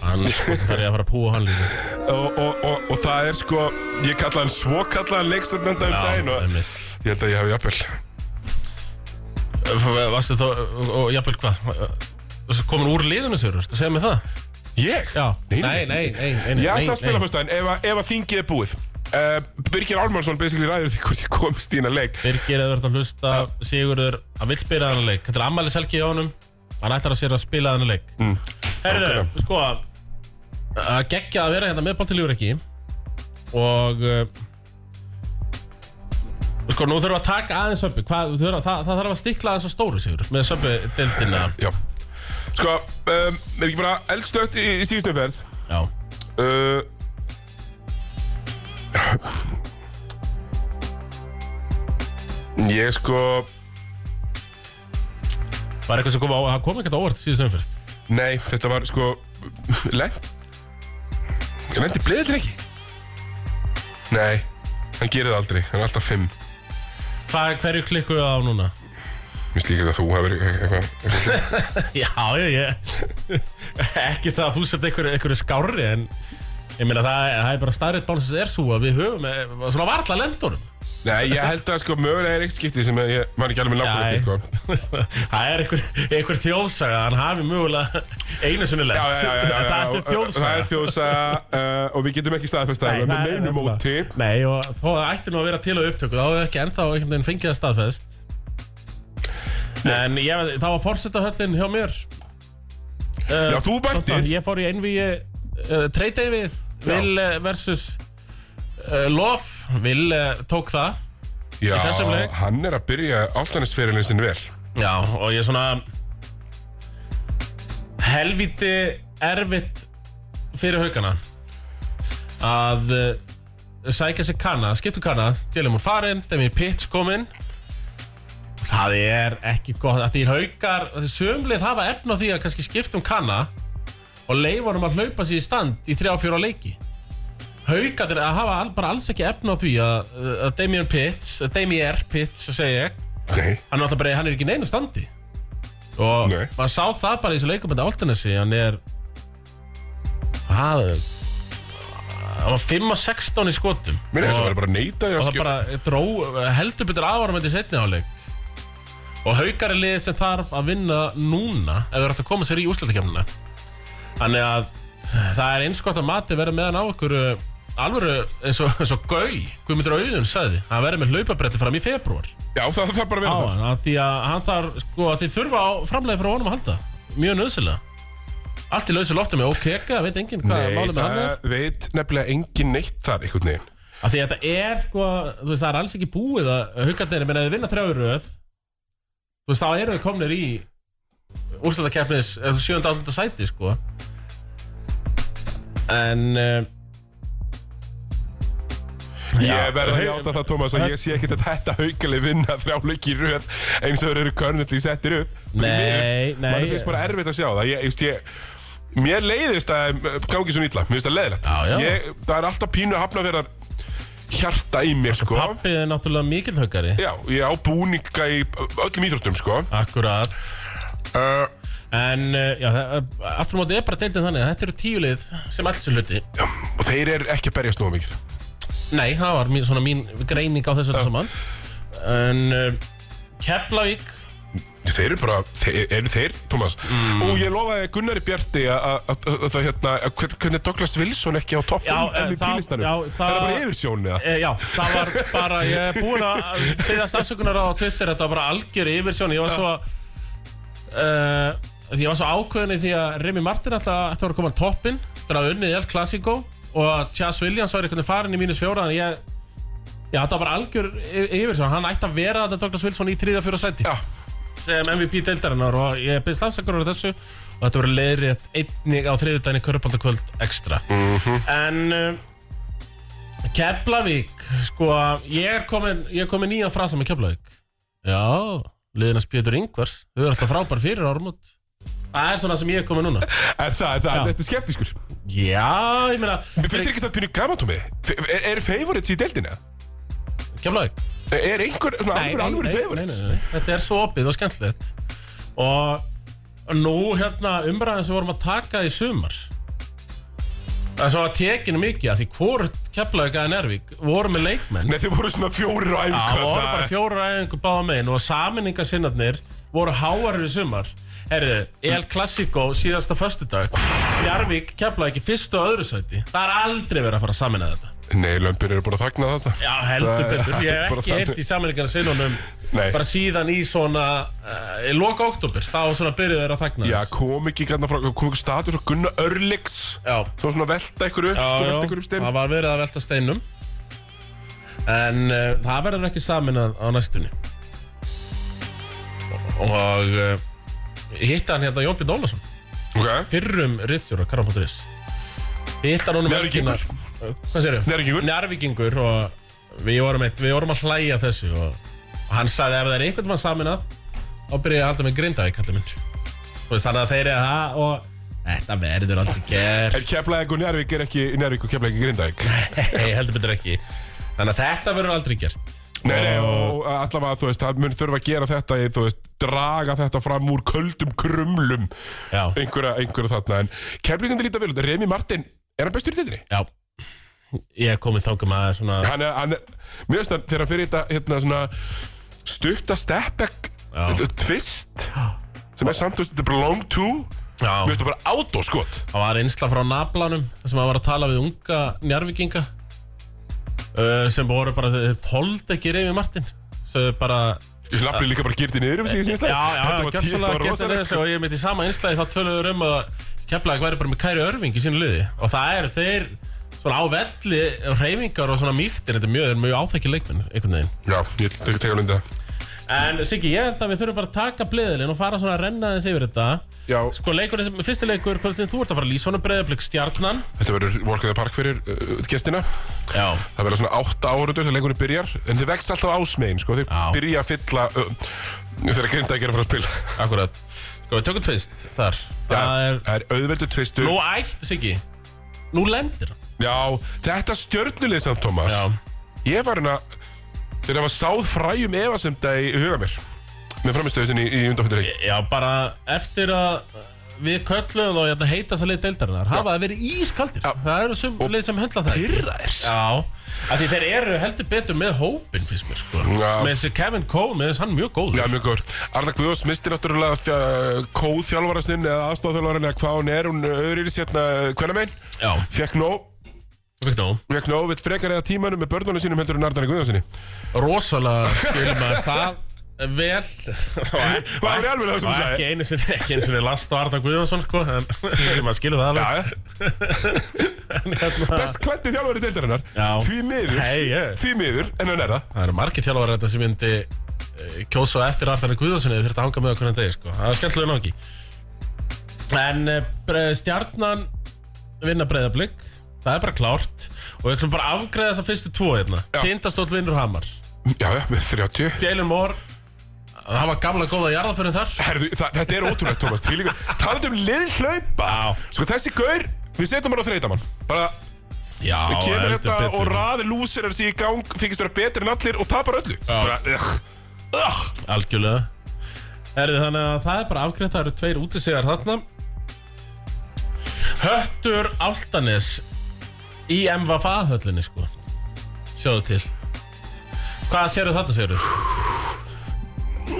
S3: hann sko, þarf ég að fara að púa hann líka
S2: og, og, og, og það er sko, ég kalla hann svo kalla hann leikstofnænda um daginn og
S3: einmitt.
S2: ég held að ég hafi jafnvel
S3: F- Varstu þá, og- og jafnvel hvað Komin úr liðinu sigur, ertu að segja mig það?
S2: Ég?
S3: Já,
S2: Nei,
S3: nei, nei, nei, nei, nei
S2: Ég ætla
S3: nei,
S2: að spila
S3: nei.
S2: fyrst aðeins ef, að- ef að þingið er búið uh, Birgir Álmarsson basically ræður því hvort ég komst í hennar leik
S3: Birgir eða verður að hlusta Sigurður, hann vil spila hann leik Þetta er ammæli selgi hjá honum Hann ætlar að sér að spila hann leik mm. Herðu, sko Að gegja að vera hérna með bóttiljúr ekki Og uh, Sko, nú þurfum við að taka aðeins söpbi Hvað, þurfum, við- það, það þarf að stikla aðeins á stóru sigur Með söpbi deildina
S2: Já Sko, um, er ekki bara eldstögt í, í síðustu umferð
S3: Já,
S2: uh, Ég sko
S3: var eitthvað sem kom á Það kom ekkert á óvart síðust umfyrst
S2: Nei, þetta var sko Lent Ég lendi bleðilir ekki Nei, hann gerir það aldrei Hann er alltaf fimm
S3: Hvað, hverju klikkuðu á núna?
S2: Mér slíkir þetta að þú hefur eitthvað eitthvað-
S3: Já, já, ég Ekki það að þú sett einhverju, einhverju skárri En ég meina það, það er bara starrið bánsins er svo að við höfum eh, Svona varla lendurum
S2: Nei, ég held að sko mögulega er eitt skipti sem ég man ekki alveg með
S3: Já,
S2: nákvæmlega
S3: ég-
S2: eftir sko.
S3: Það er einhver, einhver þjóðsaga að Hann hafi mögulega einu sinni lent
S2: Já, já, já, já, já, já.
S3: Það er þjóðsaga
S2: Það er þjóðsaga uh, og við getum ekki staðfesta
S3: Nei,
S2: það með
S3: það er
S2: neinu
S3: nefnilega-
S2: móti
S3: Nei, og þó að það ætti nú að vera til á upptöku þá hefði ekki ennþá einhvern veginn fengið það staðfest En ég, það var fórsetahöllin hjá mér uh,
S2: Já, þú bættir.
S3: Ég fór í einvíi uh, Treydeifið, Vil uh, versus uh, Lof Vil uh, tók það
S2: Já,
S3: þessum leik.
S2: hann er að byrja áltanisferilin sinn vel
S3: Já, og ég svona helviti erfitt fyrir haugana að uh, sækja sér kanna, skiptu kanna Djölum úr farinn, Demi Pitts kominn Það er ekki gott að því haugar, að því sömlið hafa efn á því að kannski skiptum kanna og leifa honum að hlaupa sér í stand í 3-4 leiki Haugarnir að hafa al- bara alls ekki efn á því að, að Damien Pitts, Damier Pitts segi ég
S2: Nei,
S3: hann er alltaf bara, hann er ekki í neinu standi og
S2: Nei.
S3: maður sá það bara í þessu leikum þetta Altanesi, hann er hvað hann var 5 og 16 í skotum
S2: Mér er þess að
S3: og,
S2: vera bara að neita því
S3: og
S2: að
S3: það
S2: skjóta.
S3: bara dró, heldur betur aðvarum þetta í setni áleik og haukar er liðið sem þarf að vinna núna ef þau eru alltaf að koma sér í úrslættakefnina þannig að það er eins gott að mati verið meðan á okkur uh, alvöru eins og, eins og gau Guðmundur Auðun sagði, hann verið með hlaupabretti fram í februar
S2: Já, það það þarf bara að
S3: á
S2: vera það.
S3: hann af því að hann þarf sko að þið þurfa á framlega frá honum að halda mjög nöðsilega allt í lausu lofti með okeka, veit enginn hvað
S2: Nei,
S3: málið með hann er
S2: það veit nefnilega engin neitt þar, einhvern veginn.
S3: af því að þetta er sko, þú veist það er alls ekki búið að hugarnir, menn að þið vinna þrjáuröð þú veist þá eru þið komnir í úrstæðakeppnis 7. áttunda sæti sko en uh,
S2: Ég verð að játa það, Tómas, að ég sé ekkert að þetta haukali vinna þrjáleik í röð eins og þeir eru körnandi settir upp. Því
S3: Nei,
S2: miður,
S3: nei.
S2: Manni finnst bara erfitt að sjá það. Ég, ég, ég, mér leiðist að eh, gangi svona illa. Mér finnst það leiðilegt.
S3: Já, já.
S2: Ég, það er alltaf pínu að hafna vera hjarta í mér, sko.
S3: pappið er náttúrulega mikill haugari
S2: Já, ég á búninga í öllum íþróttum, sko.
S3: akkurat
S2: Uh,
S3: En uh, já, það- aftur á móti er bara deildin þannig að þetta eru tíu lið sem alls er hluti.
S2: já, og þeir eru ekki að berjast nógu mikið.
S3: Nei, það var mín, svona mín greining á þessu öllu saman. En uh, Keflavík,
S2: Þeir eru bara, þeir, eru þeir, Tómas
S3: Mm.
S2: Og ég lofaði Gunnari Bjarti að- að að- að það hérna, að hvern- hvernig Douglas Wilson ekki á topp
S3: Já,
S2: 5
S3: eh,
S2: MVP
S3: það-
S2: listanum
S3: já,
S2: Er
S3: það-
S2: það bara yfirsjón eða?
S3: e, já, það var bara, ég er búinn að byrja stafsökunar á Twitter, þetta var bara algjör yfirsjón. Ég var svo, uh, ég var svo ákveðin í því að Remy Martin alltaf ætti að vera að koma á toppinn, þetta var unnið El Clasico og að Chas Williams var einhvern veginn farin í mínus fjóra, en ég, já, þetta var bara algjör y- yfirsjón. Hann ætti að vera þetta Douglas Wilson í þriða fjóra sæti.
S2: Já,
S3: sem MVP deildarinnar og ég byrðist afsakur á þessu og þetta verður leiðrétt einnig á þriðjudaginn í Körbaldakvöld ekstra en uh, Keflavík sko, ég er komin, ég er komin nýjan frasa með Keflavík já, liðinast Pétur Ingvar þau eru alltaf frábær fyrir árumot það er svona sem ég er komin núna
S2: er það, er það, þetta er skeptiskur
S3: já, ég meina
S2: Mér finnst þér ekki það pínu gaman, Tómi Er, er favorites í deildina?
S3: Keflavík
S2: Er einhver, svona alvöru, alvöru favorites?
S3: nei, nei, nei. Þetta er svo opið og skemmtilegt Og nú hérna umræðin sem við vorum að taka í sumar Það er svo að tekinu mikið að Því hvort keflaðu ekki að Nervík voru með leikmenn
S2: Nei, þeir voru svona fjórir á
S3: Já,
S2: æfingu
S3: voru
S2: þarna.
S3: bara fjórar æfingu báða megin Og saminningarsinnarnir voru háarir í sumar Herðu, El Clasico síðasta föstudag Njarvík keflaðu ekki fyrstu og öðru sæti Það er aldrei verið að fara að samina þetta
S2: Nei, lömpin eru bara að þagna þetta
S3: Já, heldur
S2: Það-
S3: betur. Ég
S2: það er
S3: hef
S2: bara
S3: ekki
S2: þannig.
S3: heyrt í sammenningarna sinnunum
S2: Nei.
S3: bara síðan í svona uh, í loka oktober, þá svona byrjuðu þeir að þagna
S2: Já,
S3: þess.
S2: kom ekki grann frá, kom ekki status og Gunnar Örliks
S3: Já.
S2: Svo svona velta ykkur upp,
S3: Já,
S2: sko velta
S3: já,
S2: ykkur upp stein
S3: það var verið að velta steinum en uh, það verður ekki saminað á næstunni og uh, hitta hann hérna Jón Björn Ólafsson
S2: Ok,
S3: fyrrum rittjóra, Karam.is hitta hann um
S2: Njarðvíkingur.
S3: helgina- Uh, hvað sérum?
S2: Njarðvíkingur.
S3: Njarvíkingur og við vorum, eitt, við vorum að hlæja að þessu og, og hann sagði ef það er einhvern mann saminað þá byrja ég að halda með grindaði kallið minn og þannig að þeir eru það og þetta verður aldrei gert
S2: er Keflæk og Njárvík er ekki Njárvík og Keflæk er Grindæk
S3: ég heldur betur ekki þannig að þetta verður aldrei gert
S2: Nei, nei, og allavega, þú veist, það mun þurfa að gera þetta í, þú veist, draga þetta fram úr köldum krumlum
S3: já,
S2: einhverja, einhverja þarna, en keflingundir líta vel út, Remi Martin, er hann bestur í dildinni?
S3: já ég er komið þangum að svona
S2: Hann er, hann er, mér finnst það, þegar hann fyrir þetta, hérna, svona stutta stepback
S3: Já.
S2: twist sem er samt, þú veist, þetta er bara long two
S3: já,
S2: mér finnst það bara autoskot
S3: Það var einsla frá nablanum þar sem að var að tala við unga njárvikinga uh, sem voru bara þeir þóld ekki reyfi Martin Sögðu bara
S2: Ég lappi líka bara gyrti niður um sig, ég syns það
S3: Já, já,
S2: Þetta var tíð, þetta var
S3: gjörsamlega
S2: rosalegt,
S3: sko.
S2: sko
S3: og ég myndi sama einslaði þá töluður um að Keflavík væri bara með Kæri Örving í sínu liði og það er þeir svona á velli reyfingar og svona mýktir þetta er mjög, þeir eru mjög áþekki leikmenn einhvern veginn
S2: Já, ég tek, tek alveg undir það
S3: En Siggi, ég held að við þurfum bara að taka bleðilinn og fara svona að renna þess yfir þetta
S2: Já,
S3: Sko, leikurinn sem, fyrsti leikur, hvernig sem þú ert að fara að lýsa honum breyðablík stjarnan
S2: þetta verður Walk of the Park fyrir uh, gestina
S3: Já,
S2: Það verður svona 8 áraður þegar leikurinn byrjar En þið vex alltaf ásmegin, sko Þeir
S3: Já.
S2: byrja að fylla uh, Þegar grinda ekki er að fara að spila
S3: Akkurat Sko, við tökum tvist þar Það
S2: Já,
S3: er
S2: Það er auðveldur tvistu
S3: Nú ætt, Siggi Nú lendir hann
S2: Já, þetta stjörnulið samt, Thomas
S3: Já.
S2: Ég var hérna Þeir hafa sáð fræjum efasemda í huga mér með framistöðu sinni í, í undanfjöndarleik
S3: Já, bara eftir að við köllum og þetta heita það leið deildarinnar hafa það verið ískaldir
S2: Já.
S3: það eru sum leið sem höndla það ekki.
S2: Pyrraðir
S3: Já, af því þeir eru heldur betur með hópin fyrst mér sko
S2: Já.
S3: með þessi Kevin Cole, með þessi hann mjög góð
S2: Já, mjög góður. Arda Guðjóðs misti náttúrulega fjö- kóðþjálfara sinn eða aðstofþjálfara eða hvað hún er, hún öðrýris hérna hvernig megin.
S3: Já,
S2: Fekk nóg,
S3: við nóg
S2: fekk nóg, vill frekar eða tímanum með börnunum sínum heldur en Arda Guðjóðsinni.
S3: Rosalega skilum að það vel Það
S2: var í alvöru það sem þú sagði.
S3: Ekki einu sinni, ekki einu sinni Last og Arda Guðjónsson sko en maður skilur það alveg
S2: Já,
S3: en hérna,
S2: best klætti þjálfari deildarinnar.
S3: Já.
S2: Því miður,
S3: Hey, yeah.
S2: því miður, en hann er það.
S3: Það eru margir þjálfar þetta sem myndi eh, kjósa á eftir Arðarni Guðjónssoni þeir þurft að hanga með okkur en degi sko. Það er skemmtilega nokki En eh, bre- stjarnan vinna breyðablík Það er bara klárt Og við ætlum bara að afgreða þessa fyrstu tvo hérna
S2: Já.
S3: Tindastóll vinnur Hamar
S2: Já, já, með 30.
S3: Jalen Moore Það var gamla góða jarðaförinn þar
S2: Herðu, það, þetta er ótrúlegt, Tómas, því líka. Talandi um liðhlaupa.
S3: Já.
S2: Sko, þessi gaur, við setjum hann á þreytamann. Bara,
S3: Já,
S2: kemur
S3: heldur
S2: þetta
S3: betur.
S2: og raði lúsirar sig í gang, þykist vera betri en allir og tapar öllu. Bara, ugh, ugh.
S3: Algjörlega Herði, Þannig að það er bara afgreitt Það eru tveir útisegar þarna Höttur Altanes Í MVFA höllinni sko Sjáðu til Hvað sérðu þarna sérðu?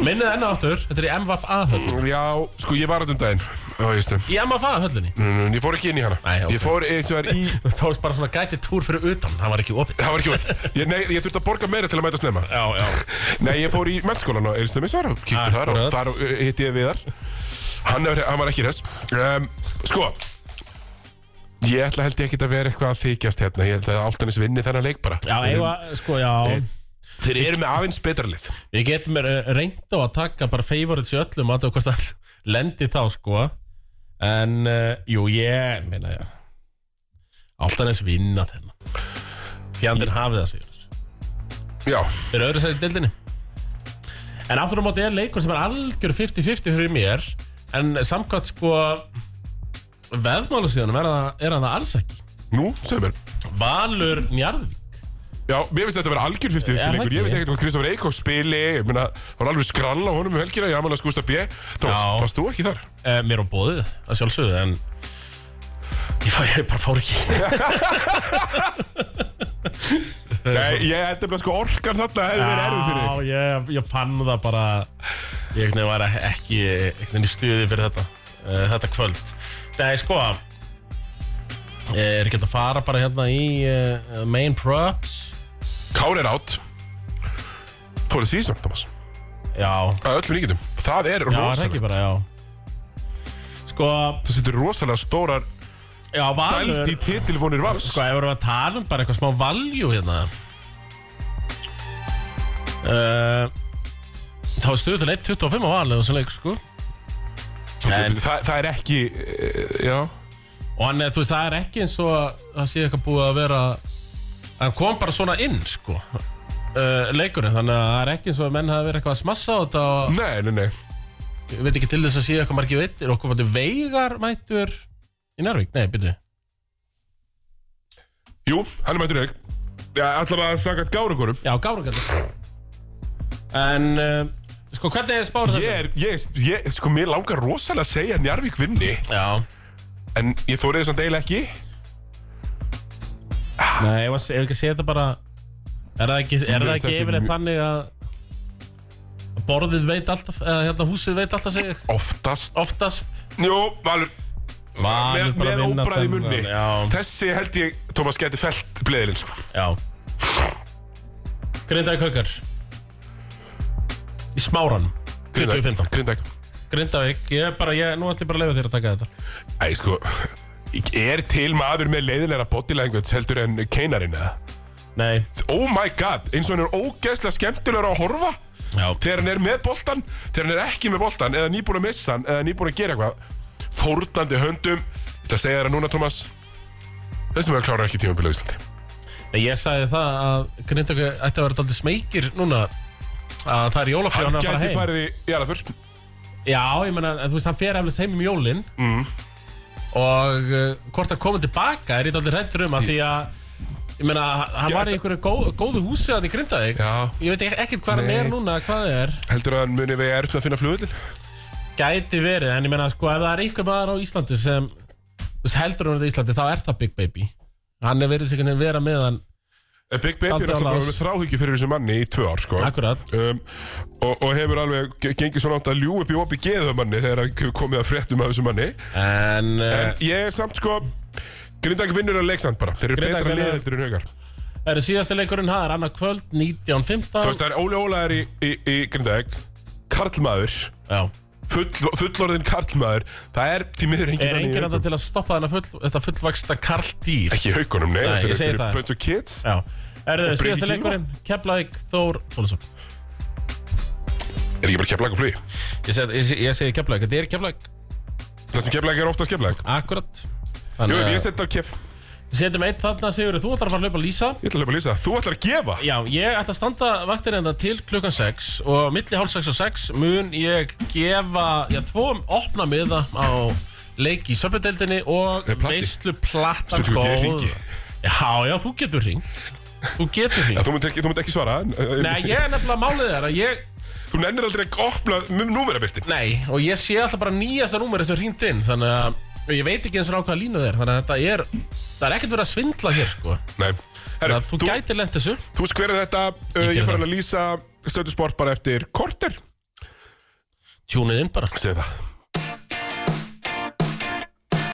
S3: Minnið enn og aftur Þetta er í MVFA höllinni
S2: Já, sko ég var þetta um daginn Ó, ég, stem.
S3: Í MVFA höllinni
S2: Mm, ég fór ekki inn í hana
S3: Nei, ok.
S2: Ég fór eins og er í
S3: Þá er bara svona gæti túr fyrir utan Það var ekki opið
S2: Það var ekki orð ég, nei, ég þurfti að borga meira til að mæta snemma
S3: Já, já
S2: Nei, ég fór í mennskólan og einu snemmi svar og kíkti þar og
S3: Akkurat.
S2: þar uh, hitti ég viðar Hann, er, hann var ekki res um, Sko Ég ætla held ég ekki að vera eitthvað að þykjast hérna Ég held að Altanis vinni þennan leik bara
S3: Já, eiga, sko, já
S2: Þeir eru með aðeins betra lið
S3: Við getum eh, reynt á að taka bara favorites í öllum að það hvort það lendi þá sko En uh, jú, ég meina já Alltaf neins vinna þennan Fjandinn hafið það sigur
S2: Já,
S3: Þeir eru öðru sæti í dildinni En aftur á móti er leikur sem er algjör 50-50 fyrir mér En samkvæmt sko Veðmálu síðanum er, það- er hann það alls ekki
S2: nú, segðu mér
S3: Valur Njarðvík
S2: Já, mér finnst þetta að vera algjör 50
S3: Já,
S2: 50 leikur. Ég
S3: það
S2: veit
S3: ekki.
S2: ekkert hvað Kristófur Eikók spili Ég meina, það var alveg skrall á honum um helgina Ég amal að skústa B Tómas,
S3: Já.
S2: varst þú ekki þar?
S3: Eh, Mér á bóðið, að sjálfsögðu, en ég, fæ, ég bara fór ekki
S2: Nei, ég held nefnilega sko orkan þarna hefði verið erfið fyrir þig
S3: Já, ég, ég fann það bara Ég einhvern veginn var ekki einhvern veginn í stuði fyrir þetta uh, Þetta kvöld Nei, sko Ég er ekki hægt að fara bara hérna í uh, Main props
S2: Kár er átt Fór að síðan, Tómas
S3: Já,
S2: Að öllum líkitum Það er
S3: já, það er ekki
S2: rosalegt
S3: bara, já Sko,
S2: Það setur rosalega stórar
S3: já, Valur
S2: dælt í titilvonir vals
S3: Sko, ef við erum að tala um bara eitthvað smá valjú hérna uh, Þá er stuðu til 1.25 á valið og svo leik, sko en-
S2: Það, það er ekki, eh, já
S3: Og hann, þú veist, það er ekki eins og að það sé eitthvað búið að vera Hann kom bara svona inn, sko uh, Leikurinn, þannig að það er ekki eins og að menn hafi verið eitthvað að smassa á þetta og
S2: Nei, nei, nei
S3: Ég veit ekki til þess að sé eitthvað margir veitir Okkur var þetta veigar mættur í Nærvík, nei, byrju
S2: Jú, hann er mættur í leik Já, allavega samkvæmt gárugurum
S3: Já, gárangallar En, uh, sko, hvernig er spáður
S2: Ég er, ég, ég, sko, mér langar rosalega að segja að Njarvík vinni
S3: Já,
S2: En ég þóriði samt eiginlega ekki
S3: nei, ef ef ekki að sé þetta bara Er það ekki, er það
S2: finnst
S3: ekki
S2: þessi
S3: yfirleitt
S2: mjög-
S3: þannig að að Borðið veit alltaf, eða hérna húsið veit alltaf sig
S2: Oftast
S3: Oftast
S2: Jú, Valur
S3: Valur
S2: Með,
S3: bara
S2: með
S3: að vinna
S2: óbræði
S3: þennan,
S2: munni
S3: já.
S2: Þessi held ég, Tómas, geti felt bleðilinn sko.
S3: Já Grindavík haukar Í smáran 25
S2: Grindag
S3: Grindavík, ég er bara, ég, nú ætlum ég bara að leifa þér að taka þetta
S2: Æ, sko Er til maður með leiðilega body language heldur en keinarin eða?
S3: Nei,
S2: Oh my god, eins og hann er ógeðslega skemmtilegur að horfa
S3: já,
S2: Þegar hann er með boltan, þegar hann er ekki með boltan Eða nýbúin að missa hann, eða nýbúin að gera eitthvað Fórnandi höndum Þetta segja þér að núna, Tómas Þessi maður klárar ekki tímabilið á Íslandi
S3: Nei, ég sagði það að Grindavík ætti að vera daldið smeykir núna að það er jólafjör
S2: Hann
S3: hann er að
S2: gæti
S3: fara heim
S2: farið í, í alafur
S3: Já, ég meina, en þú veist, hann fer eflust heim um jólin eh, mm. og uh, hvort að koma tilbaka er ég daldið hrættur um að því að Ég meina, hann var í einhverju góð, góðu húsi að þið grinda þig
S2: Já.
S3: Ég veit ekki- ekkert hvað hann
S2: Nei.
S3: er núna, hvað það er
S2: Heldur að hann muni við erfna að finna flugullin?
S3: Gæti verið, en ég meina, sko, ef það er einhver maður á Íslandi sem þú veist, heldur hann á Íslandi, þá er það Big Baby Hann er verið sikkert að vera með hann
S2: Eh, Big Baby er
S3: Aldrei
S2: alltaf
S3: á
S2: bara
S3: lás.
S2: með þráhyggju fyrir þessum manni í tvö ár sko.
S3: Akkurat.
S2: um, og, og hefur alveg ge- gengið svona átt að ljú upp í opi geðu manni þegar hann hefur komið að fréttum af þessum manni
S3: En,
S2: En
S3: eh, en
S2: ég er samt sko Grindag vinnur að leiksand bara Þeir eru
S3: Grindavík
S2: betra
S3: vinnur-
S2: liðheldur en haugar
S3: er síðasti leikurinn, það er annað kvöld,
S2: Þú veist
S3: 19.15
S2: það er Óli Óla er í, í, í Grindag Karlmaður
S3: Já,
S2: full, Fullorðin Karlmaður Það er því miður engin
S3: er
S2: hann í
S3: enginn að
S2: Haukum.
S3: til að stoppa þennan full, þetta fullvægsta karldýr
S2: Ekki í haugunum, nei,
S3: Nei,
S2: þetta
S3: ég
S2: eru-
S3: segi
S2: þetta
S3: það.
S2: eru bunch of kids
S3: Já, er
S2: Og
S3: það
S2: Brynhildur
S3: síðasti
S2: Gylfa.
S3: leikurinn, Keflæk, Þór, Þólasson
S2: Er ekki bara keflag og flugi
S3: Ég segi, ég, segi- ég segi Keflæk, þetta er Keflæk,
S2: Það sem keflag er ofta skeflag
S3: akkurat
S2: Jú,
S3: Þannig
S2: en
S3: að-
S2: ég setja á kef
S3: Setjum eitt þarna, Sigurður, þú ætlar að fara að hlaupa að lýsa
S2: Ég ætla að lefa að lýsa Þú ætlar að gefa
S3: Já, ég ætla að standa vaktir enda til klukkan 6 og milli hálf 6 og 6 mun ég gefa, já, tvo opna miða á leik í söpindeldinni og
S2: Er plati?
S3: veislu platan
S2: Stundum ég hringi.
S3: Já, já, þú getur ringt Þú getur
S2: Já,
S3: ringt
S2: þú, munt ekki, þú munt ekki svara en- en-
S3: Nei, ég er nefnilega málið þar að ég
S2: Þú nennir aldrei að opna númerabirtin
S3: Nei, og ég sé alltaf bara nýjasta númeri sem er hringt inn þannig að og ég veit ekki eins og á hvaða línu það er þannig að þetta er, það er ekkert verið að svindla hér sko
S2: Nei
S3: Þannig
S2: Herra,
S3: að þú,
S2: þú,
S3: gætir lent þessu
S2: þú skverir þetta uh,
S3: Ég
S2: Ég
S3: geri
S2: fara
S3: það.
S2: að lýsa stöðusport bara eftir korter
S3: Tjúnið inn bara
S2: Segð það